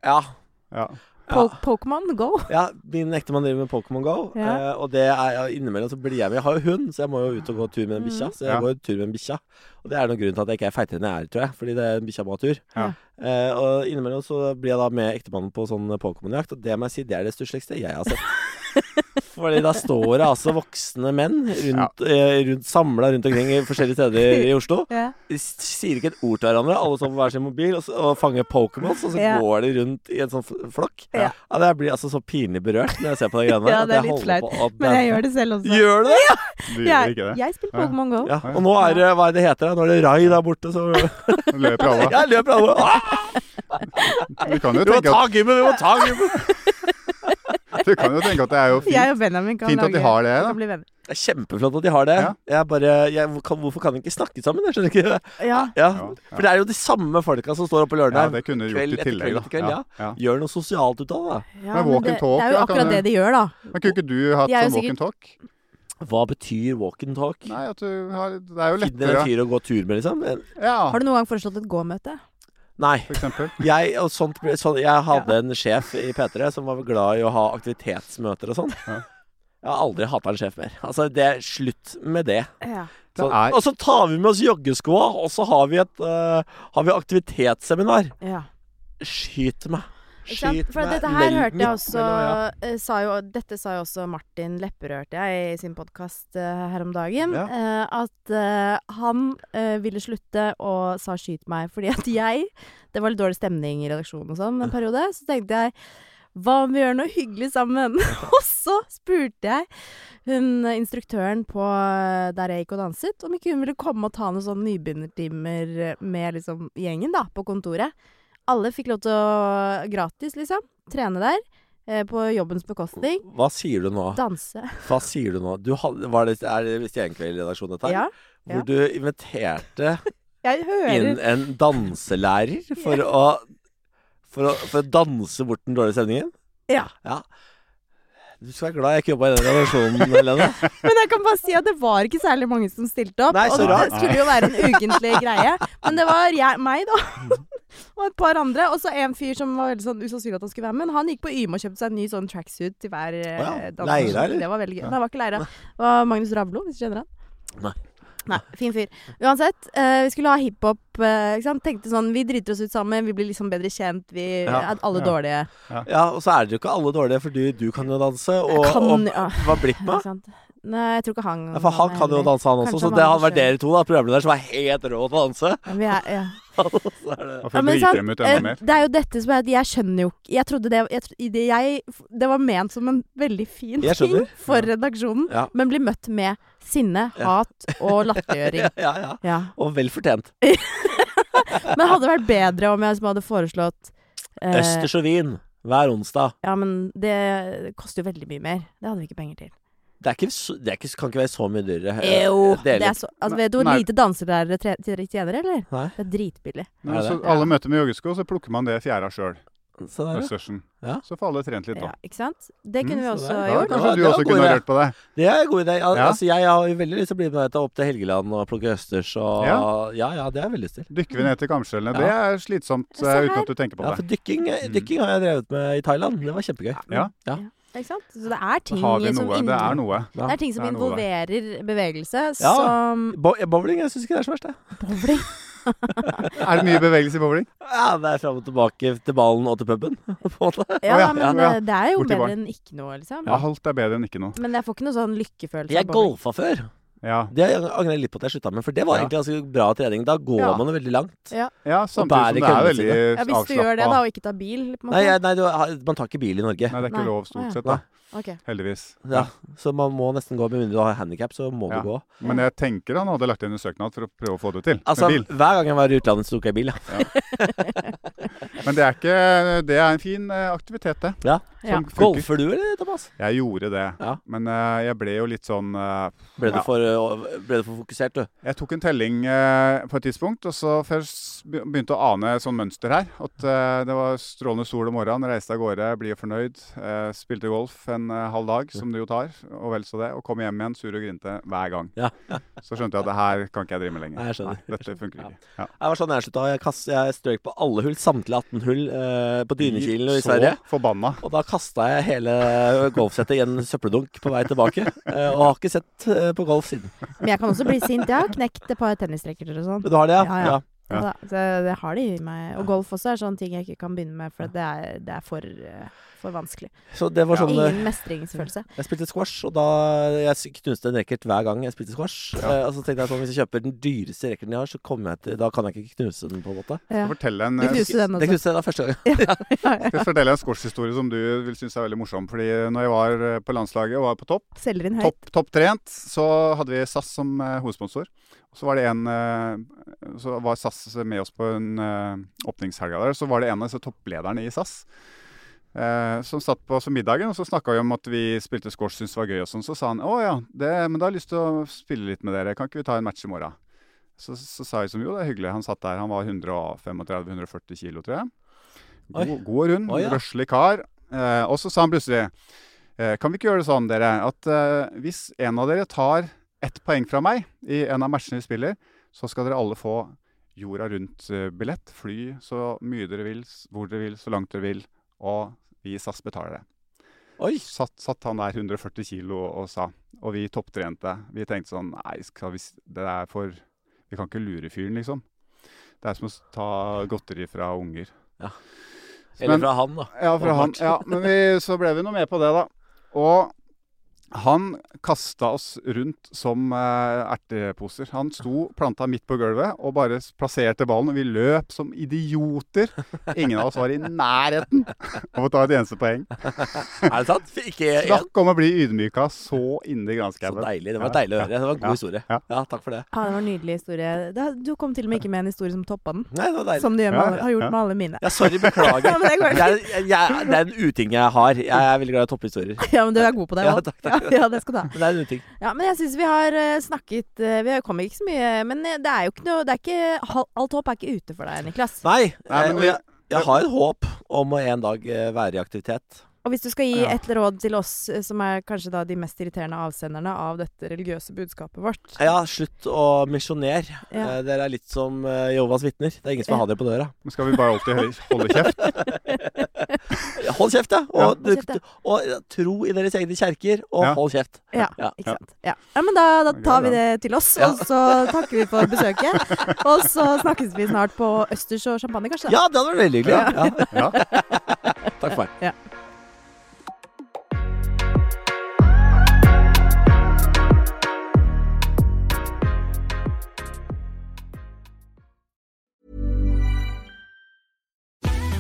Speaker 3: Ja.
Speaker 1: [LAUGHS]
Speaker 2: Ja.
Speaker 1: Po Pokémon Go.
Speaker 3: Ja, min ektemann driver med Pokémon Go,
Speaker 1: Ja.
Speaker 3: eh, og det er ja, innimellom så blir jeg med. Jeg har jo hund, så jeg må jo ut og gå tur med den bikkja. Så jeg
Speaker 2: Ja.
Speaker 3: går jo tur med den bikkja, og det er noen grunn til at jeg ikke er feitere enn jeg er, tror jeg. Fordi det er en bikkja må ha tur.
Speaker 2: Ja.
Speaker 3: Eh, og innimellom så blir jeg da med ektemannen på sånn Pokémon-jakt, og det må jeg si, det er det stussligste jeg har sett. Fordi da står det altså voksne menn rundt, eh, rundt samla rundt omkring i forskjellige steder i Oslo.
Speaker 1: Ja.
Speaker 3: De s- sier ikke et ord til hverandre, alle står på hver sin mobil og, s- og fanger Pokémons, og så
Speaker 1: Ja.
Speaker 3: går de rundt i en sånn f- flokk.
Speaker 1: Ja.
Speaker 3: Ja. det blir altså så pinlig berørt når jeg ser
Speaker 1: [LAUGHS]
Speaker 3: på de greiene
Speaker 1: Ja,
Speaker 3: at
Speaker 1: det er
Speaker 3: jeg
Speaker 1: litt
Speaker 3: holder
Speaker 1: flaut,
Speaker 3: på at
Speaker 1: Men
Speaker 3: det-
Speaker 1: jeg gjør det selv også.
Speaker 3: Gjør du det? Ja.
Speaker 2: Du gjør
Speaker 1: Jeg,
Speaker 2: ikke det.
Speaker 1: jeg spiller Pokémon Go.
Speaker 3: Og nå er det Hva er det det heter? da? Nå er det Rai der borte, så
Speaker 2: Du Løper
Speaker 3: [LAUGHS]
Speaker 1: [LAUGHS]
Speaker 2: alle.
Speaker 3: Jeg løper alle ah,
Speaker 2: Du kan jo
Speaker 3: Vi må
Speaker 2: tenke
Speaker 3: ta
Speaker 2: at,
Speaker 3: gymmen! Vi må ta
Speaker 2: [LAUGHS]
Speaker 3: gymmen!
Speaker 2: du kan jo tenke at det er jo fint.
Speaker 1: Jeg og Benjamin kan
Speaker 2: Fint at de har det, da.
Speaker 1: kan bli venner.
Speaker 3: Det er kjempeflott at de har det.
Speaker 2: Ja.
Speaker 3: Jeg bare jeg, hvor kan, Hvorfor kan de ikke snakke sammen? Jeg skjønner ikke det.
Speaker 1: Ja.
Speaker 3: Ja.
Speaker 2: Ja,
Speaker 3: For det er jo de samme folka som står oppe på
Speaker 2: Ja,
Speaker 3: Lørenheim.
Speaker 2: det kunne du
Speaker 3: Kveld
Speaker 2: gjort i
Speaker 3: etter
Speaker 2: tillegg,
Speaker 3: kveld
Speaker 2: da.
Speaker 3: etter kveld, ja.
Speaker 2: Ja, ja.
Speaker 3: Gjør noe sosialt ut av det.
Speaker 1: ja
Speaker 2: walk and
Speaker 1: det,
Speaker 2: talk,
Speaker 1: det er jo
Speaker 2: da, kan
Speaker 1: akkurat
Speaker 2: du-
Speaker 1: det de gjør, da.
Speaker 2: Men kunne ikke du hatt
Speaker 1: Jeg er jo
Speaker 2: sånn walk and talk?
Speaker 3: Hva betyr walk and talk?
Speaker 2: Nei, at du har, det er jo
Speaker 3: Finner
Speaker 2: lettere.
Speaker 3: en fyr å gå tur med, liksom?
Speaker 2: Ja,
Speaker 1: Har du noen gang foreslått et gå-møte?
Speaker 3: Nei.
Speaker 2: for eksempel.
Speaker 3: Jeg, og sånt, ble- sånn, jeg hadde en sjef i P3 som var glad i å ha aktivitetsmøter og sånn.
Speaker 2: Ja.
Speaker 3: Jeg har aldri hata en sjef mer. Altså, det er slutt med det.
Speaker 1: Ja.
Speaker 2: Det
Speaker 3: Så,
Speaker 2: er-
Speaker 3: Og så tar vi med oss joggeskoa, og så har vi et eh, har vi aktivitetsseminar.
Speaker 1: ja.
Speaker 3: Skyt meg.
Speaker 1: Ikke sant?
Speaker 3: Skyt
Speaker 1: For
Speaker 3: meg
Speaker 1: dette her
Speaker 3: mell-
Speaker 1: hørte
Speaker 3: midt
Speaker 1: jeg også,
Speaker 3: mellom
Speaker 1: eh, sa jo, Dette sa jo også Martin Lepperød, hørte jeg, i sin podkast her om dagen.
Speaker 2: Ja.
Speaker 1: eh, at eh, han eh, ville slutte og sa 'skyt meg', fordi at jeg Det var litt dårlig stemning i redaksjonen og sånn en periode. Så tenkte jeg hva om vi gjør noe hyggelig sammen? [LAUGHS] og så spurte jeg hun eh, instruktøren på eh, der jeg gikk og danset, om ikke hun ville komme og ta noen sånne nybegynnertimer eh, med liksom gjengen da, på kontoret. Alle fikk lov til å gratis, liksom, trene der eh, på jobbens bekostning.
Speaker 3: Hva sier du nå?
Speaker 1: Danse.
Speaker 3: Hva sier du nå? Du hadde, var det, er det Stjernenkveld-redaksjonen dette her?
Speaker 1: Ja. ja.
Speaker 3: Hvor du inviterte
Speaker 1: Jeg hører
Speaker 3: inn en danselærer for å for å, for å danse bort den dårlige stemningen?
Speaker 1: Ja.
Speaker 3: Du skal være glad jeg ikke jobba i den redaksjonen,
Speaker 1: [LAUGHS]
Speaker 3: Helene.
Speaker 1: Men jeg kan bare si at det var ikke særlig mange som stilte opp.
Speaker 3: Nei, så
Speaker 1: og
Speaker 3: rart.
Speaker 1: det skulle jo være en ukentlig greie. Men det var jeg, meg, da.
Speaker 3: [LAUGHS]
Speaker 1: og et par andre. Og så en fyr som var veldig sånn usannsynlig at han skulle være med. Men han gikk på Yme og kjøpte seg en ny sånn tracksuit til hver eh,
Speaker 3: Å ja,
Speaker 1: dans.
Speaker 3: Leira, eller?
Speaker 1: Det var veldig gøy. Nei, det var ikke Leira. Det var Magnus Ravlo, hvis du kjenner han.
Speaker 3: Nei.
Speaker 1: Nei, Fin fyr. Uansett, eh, vi skulle ha hiphop. eh, ikke sant? Tenkte sånn Vi driter oss ut sammen, vi blir liksom bedre kjent, vi
Speaker 3: Ja,
Speaker 1: er alle
Speaker 2: ja.
Speaker 1: dårlige.
Speaker 3: Ja, og så er dere jo ikke alle dårlige, for du, du kan jo danse. Og,
Speaker 1: Jeg kan-
Speaker 3: og
Speaker 1: ja.
Speaker 3: hva blir det
Speaker 1: Ikke
Speaker 3: med?
Speaker 1: sant? Nei, jeg tror ikke han
Speaker 3: Ja, for han kan jo danse, han også.
Speaker 1: Kanskje
Speaker 3: Så
Speaker 1: han
Speaker 3: det
Speaker 1: har
Speaker 3: hadde vært
Speaker 1: forskjell.
Speaker 3: dere to, da, programledere, som er helt rå til å danse. [LAUGHS]
Speaker 1: Men Vi er, ja.
Speaker 3: Og så er det
Speaker 2: Og
Speaker 1: Ja,
Speaker 2: for å
Speaker 1: men
Speaker 2: drite
Speaker 1: sant,
Speaker 2: dem ut
Speaker 1: eh,
Speaker 2: enda mer.
Speaker 1: Det er jo dette som er at jeg skjønner jo ikke Jeg trodde det jeg, tr- i det, jeg, det var ment som en veldig fin
Speaker 3: Jeg
Speaker 1: ting
Speaker 3: skjønner.
Speaker 1: for redaksjonen,
Speaker 3: Ja.
Speaker 1: men blir møtt med sinne,
Speaker 3: Ja.
Speaker 1: hat
Speaker 3: [LAUGHS]
Speaker 1: og latterliggjøring.
Speaker 3: Ja, ja, ja.
Speaker 1: Ja.
Speaker 3: Og vel fortjent.
Speaker 1: Men hadde det vært bedre om jeg liksom hadde foreslått eh,
Speaker 3: Østers og vin hver onsdag.
Speaker 1: Ja, men det koster jo veldig mye mer. Det hadde vi ikke penger til.
Speaker 3: Det, er ikke, så- det er ikke, kan ikke være så mye dyrere. eh,
Speaker 1: Jo, det
Speaker 3: dele
Speaker 1: er
Speaker 3: ut.
Speaker 1: så Altså, vet du hvor
Speaker 2: Nei.
Speaker 1: lite danselærere tre- tre- tjener, eller?
Speaker 3: Nei.
Speaker 1: Det er dritbillig.
Speaker 2: Når
Speaker 3: Er det?
Speaker 2: så alle møter med joggesko, så plukker man det fjæra sjøl.
Speaker 3: Så der, ja.
Speaker 2: Østersen.
Speaker 3: Ja.
Speaker 2: Så får alle trent litt,
Speaker 1: Ja,
Speaker 2: da.
Speaker 1: ikke sant? Det
Speaker 2: Mm,
Speaker 1: kunne vi
Speaker 3: så
Speaker 1: også
Speaker 3: det er-
Speaker 2: Ja,
Speaker 1: gjort.
Speaker 3: det
Speaker 2: kanskje du
Speaker 3: var- det var
Speaker 2: også
Speaker 3: en god
Speaker 2: kunne ha
Speaker 3: idé.
Speaker 2: rørt på deg.
Speaker 3: Det er en god idé. Al
Speaker 2: Ja.
Speaker 3: altså, jeg har jo veldig lyst til å bli med deg opp til Helgeland og plukke østers. Og... Ja.
Speaker 2: Ja.
Speaker 3: ja, det har jeg veldig lyst til.
Speaker 2: Dykker vi ned til kamskjellene.
Speaker 3: Ja.
Speaker 2: Det er slitsomt
Speaker 1: Se
Speaker 2: eh, uten
Speaker 1: her.
Speaker 2: at du tenker på Mm.
Speaker 3: Ja,
Speaker 2: det.
Speaker 3: for dykking, eh, dykking har jeg drevet med i Thailand. Det var kjempegøy.
Speaker 2: Ja.
Speaker 3: ja.
Speaker 1: Ikke sant? Så det er ting
Speaker 2: Så har vi
Speaker 1: som
Speaker 2: noe. Det
Speaker 1: involverer-
Speaker 2: er noe.
Speaker 1: Det er ting som
Speaker 2: det er noe
Speaker 1: involverer bevegelse,
Speaker 3: Ja.
Speaker 1: som
Speaker 3: Bo bowling jeg syns ikke det er så verst, jeg.
Speaker 1: bowling.
Speaker 2: Er det mye bevegelse i bowling?
Speaker 3: Ja, det er fram og tilbake til ballen og til puben, [LAUGHS] på en måte.
Speaker 1: Ja,
Speaker 2: [LAUGHS] ja,
Speaker 1: men
Speaker 2: ja.
Speaker 1: eh, det er jo
Speaker 2: Borti
Speaker 1: bedre
Speaker 2: barn.
Speaker 1: enn ikke noe, liksom.
Speaker 2: Ja, halvt er bedre enn ikke noe.
Speaker 1: Men jeg får ikke noe sånn lykkefølelse
Speaker 3: Jeg
Speaker 1: av bowling.
Speaker 3: golfa før.
Speaker 2: Ja,
Speaker 3: Det angrer jeg litt på at jeg slutta med, for det var
Speaker 2: Ja.
Speaker 3: egentlig ganske bra trening. Da går
Speaker 1: Ja.
Speaker 3: man jo veldig langt.
Speaker 2: ja
Speaker 3: bære
Speaker 2: samtidig som det er veldig
Speaker 3: køllene
Speaker 1: Ja, hvis du
Speaker 2: avslappa.
Speaker 1: gjør det, da, og ikke tar bil, på en måte.
Speaker 3: Nei, jeg, nei du, har- man tar ikke bil i Norge.
Speaker 2: Nei, det er ikke
Speaker 1: Nei.
Speaker 2: lov
Speaker 1: Å, ja.
Speaker 2: stort sett, da.
Speaker 1: Ok.
Speaker 2: Heldigvis.
Speaker 3: Ja, så man må nesten gå, med mindre du har handikap, så må
Speaker 2: Ja.
Speaker 3: du gå.
Speaker 2: Men jeg tenker han hadde lagt inn en søknad for å prøve å få det til.
Speaker 3: Altså,
Speaker 2: med bil.
Speaker 3: hver gang jeg var i utlandet, så tok jeg bil, ja.
Speaker 2: Men det er, ikke, det er en fin eh, aktivitet, det.
Speaker 3: ja.
Speaker 1: Ja.
Speaker 2: Som funker.
Speaker 3: Golfer du, eller, Thomas?
Speaker 2: Jeg gjorde det.
Speaker 3: Ja.
Speaker 2: Men eh, jeg ble jo litt sånn eh,
Speaker 3: Ble du,
Speaker 2: Ja.
Speaker 3: for, ø, ble du for fokusert, du?
Speaker 2: Jeg tok en telling eh, på et tidspunkt, og så først be- begynte å ane et sånt mønster her. At eh, det var strålende sol om morgenen, reiste av gårde, blir fornøyd. Eh, spilte golf en eh, halv dag, som det jo tar, og vel så det. Og kom hjem igjen sur og grinte hver gang.
Speaker 3: Ja.
Speaker 2: [LAUGHS] Så skjønte jeg at det her kan ikke jeg drive med lenger.
Speaker 3: Nei, jeg skjønner.
Speaker 2: dette funker ikke. Ja.
Speaker 3: Jeg var sånn jeg slutta. Jeg, kast, jeg strøk på alle hull, samtlige 18 hull, eh, på Dynekilen og i
Speaker 2: Så
Speaker 3: Sverige.
Speaker 2: forbanna.
Speaker 3: Og da kasta jeg hele golfsettet i en søppeldunk på vei tilbake. eh, og har ikke sett eh, på golf siden.
Speaker 1: Men jeg kan også bli sint. Jeg har knekt et par tennisracketers og sånn.
Speaker 3: Men du har det, ja?
Speaker 1: Ja, ja. Ja. Det, det har de i meg. Og golf også er sånn ting jeg ikke kan begynne med, for det er, det er for, eh, for vanskelig.
Speaker 3: Så det var sånn eh,
Speaker 1: Ingen mestringsfølelse.
Speaker 3: Jeg spilte squash, og da Jeg s- knuste en racket hver gang jeg spilte squash. Eh, og så tenkte jeg sånn, hvis jeg kjøper den dyreste racketen jeg har, så kommer jeg til Da kan jeg ikke knuse den, på en måte.
Speaker 1: Ja.
Speaker 2: Jeg fortelle en,
Speaker 3: [LAUGHS]
Speaker 1: Du knuste den
Speaker 3: Det
Speaker 1: også.
Speaker 3: knuste jeg da første gang.
Speaker 2: jeg skal fortelle en squashhistorie som du vil synes er veldig morsom. Fordi når jeg var eh, på landslaget og var på topp
Speaker 1: Selger inn høyt.
Speaker 2: topp, topptrent, så hadde vi SAS som eh, hovedsponsor. Og så var det en eh, Så var SAS med oss på en eh, åpningshelga der. Så var det en av disse topplederne i SAS eh, som satt på oss om middagen, og så snakka vi om at vi spilte squash, syntes det var gøy og sånn. Så sa han å ja, det, men da har jeg lyst til å spille litt med dere, kan ikke vi ta en match i morgen? Så, så sa jeg som jo, det er hyggelig. Han satt der, han var 135-140 kilo, tror jeg. God,
Speaker 3: Oi.
Speaker 2: god og rund,
Speaker 3: Oi, ja.
Speaker 2: røslig kar. Eh, og så sa han plutselig Eh, Kan vi ikke gjøre det sånn, dere, at eh, hvis en av dere tar ett poeng fra meg i en av matchene vi spiller, så skal dere alle få jorda rundt-billett. Fly så mye dere vil, s- hvor dere vil, så langt dere vil. Og vi i SAS betaler det.
Speaker 3: Oi.
Speaker 2: Satt, satt han der 140 kilo og, og sa. Og vi topptrente. Vi tenkte sånn Nei, skal vi, s- det er for Vi kan ikke lure fyren, liksom. Det er som å s- ta godteri fra unger.
Speaker 3: Ja. Eller
Speaker 2: Men-
Speaker 3: fra han, da.
Speaker 2: Ja, fra han,
Speaker 3: Åpenbart.
Speaker 2: ja men vi, så ble vi nå med på det, da. Og han kasta oss rundt som eh, erteposer. Han sto planta midt på gulvet og bare s- plasserte ballen, og vi løp som idioter. Ingen av oss var i nærheten av å ta et eneste poeng.
Speaker 3: Er det sant? Fikk Ikke én.
Speaker 2: Snakk om å bli ydmyka så inn i
Speaker 3: Så
Speaker 2: granskauen.
Speaker 3: deilig. Det var deilig å høre. Det var en god
Speaker 2: Ja.
Speaker 3: historie.
Speaker 2: Ja.
Speaker 3: Ja, takk for det.
Speaker 1: Ja, det var en nydelig historie. Det, du kom til og med ikke med en historie som toppa den.
Speaker 3: Nei, det var deilig.
Speaker 1: Som du gjør med,
Speaker 2: Ja,
Speaker 1: alle- har gjort
Speaker 2: ja.
Speaker 1: med alle mine. [LAUGHS]
Speaker 3: Ja, sorry, beklager.
Speaker 1: Sånn. Ja, men det går
Speaker 3: jeg, jeg, det er en uting jeg har. Jeg er veldig glad i topphistorier.
Speaker 1: Ja, men du er god på det
Speaker 3: Ja,
Speaker 1: også.
Speaker 3: takk,
Speaker 1: Ja,
Speaker 3: takk.
Speaker 1: ja, det skal du ha.
Speaker 3: Men det er en uting.
Speaker 1: Ja, men jeg syns vi har eh, snakket eh, Vi har kommet ikke så mye Men eh, det er jo ikke noe det er ikke, hal- Alt håp er ikke ute for deg, Niklas.
Speaker 3: Nei,
Speaker 2: Nei,
Speaker 3: eh,
Speaker 2: men
Speaker 3: og
Speaker 2: vi-
Speaker 3: jeg, jeg har et håp om å en dag eh, være i aktivitet.
Speaker 1: Og hvis du skal gi
Speaker 2: Ja.
Speaker 1: et råd til oss, eh, som er kanskje da de mest irriterende avsenderne av dette religiøse budskapet vårt
Speaker 3: Ja, slutt å misjoner.
Speaker 1: Ja.
Speaker 3: Eh, Dere er litt som eh, Jehovas vitner. Det er ingen som vil ha dere på døra.
Speaker 2: Men Skal vi bare alltid høy- holde kjeft?
Speaker 3: Hold kjeft, ja!
Speaker 2: Ja.
Speaker 3: Og,
Speaker 1: Hold kjeft,
Speaker 3: du-
Speaker 1: ja.
Speaker 3: og ja, tro i deres egne kjerker, og
Speaker 2: Ja.
Speaker 3: hold kjeft.
Speaker 1: Ja,
Speaker 3: Ja.
Speaker 1: ikke sant. Ja, ja men da, da tar vi
Speaker 2: Gøy,
Speaker 1: det til oss, og så takker vi for [LAUGHS] besøket. Og så snakkes vi snart på østers og champagne, kanskje. da?
Speaker 3: Ja, det hadde vært veldig hyggelig. Ja. Ja.
Speaker 2: Ja.
Speaker 3: [LAUGHS] Takk for meg.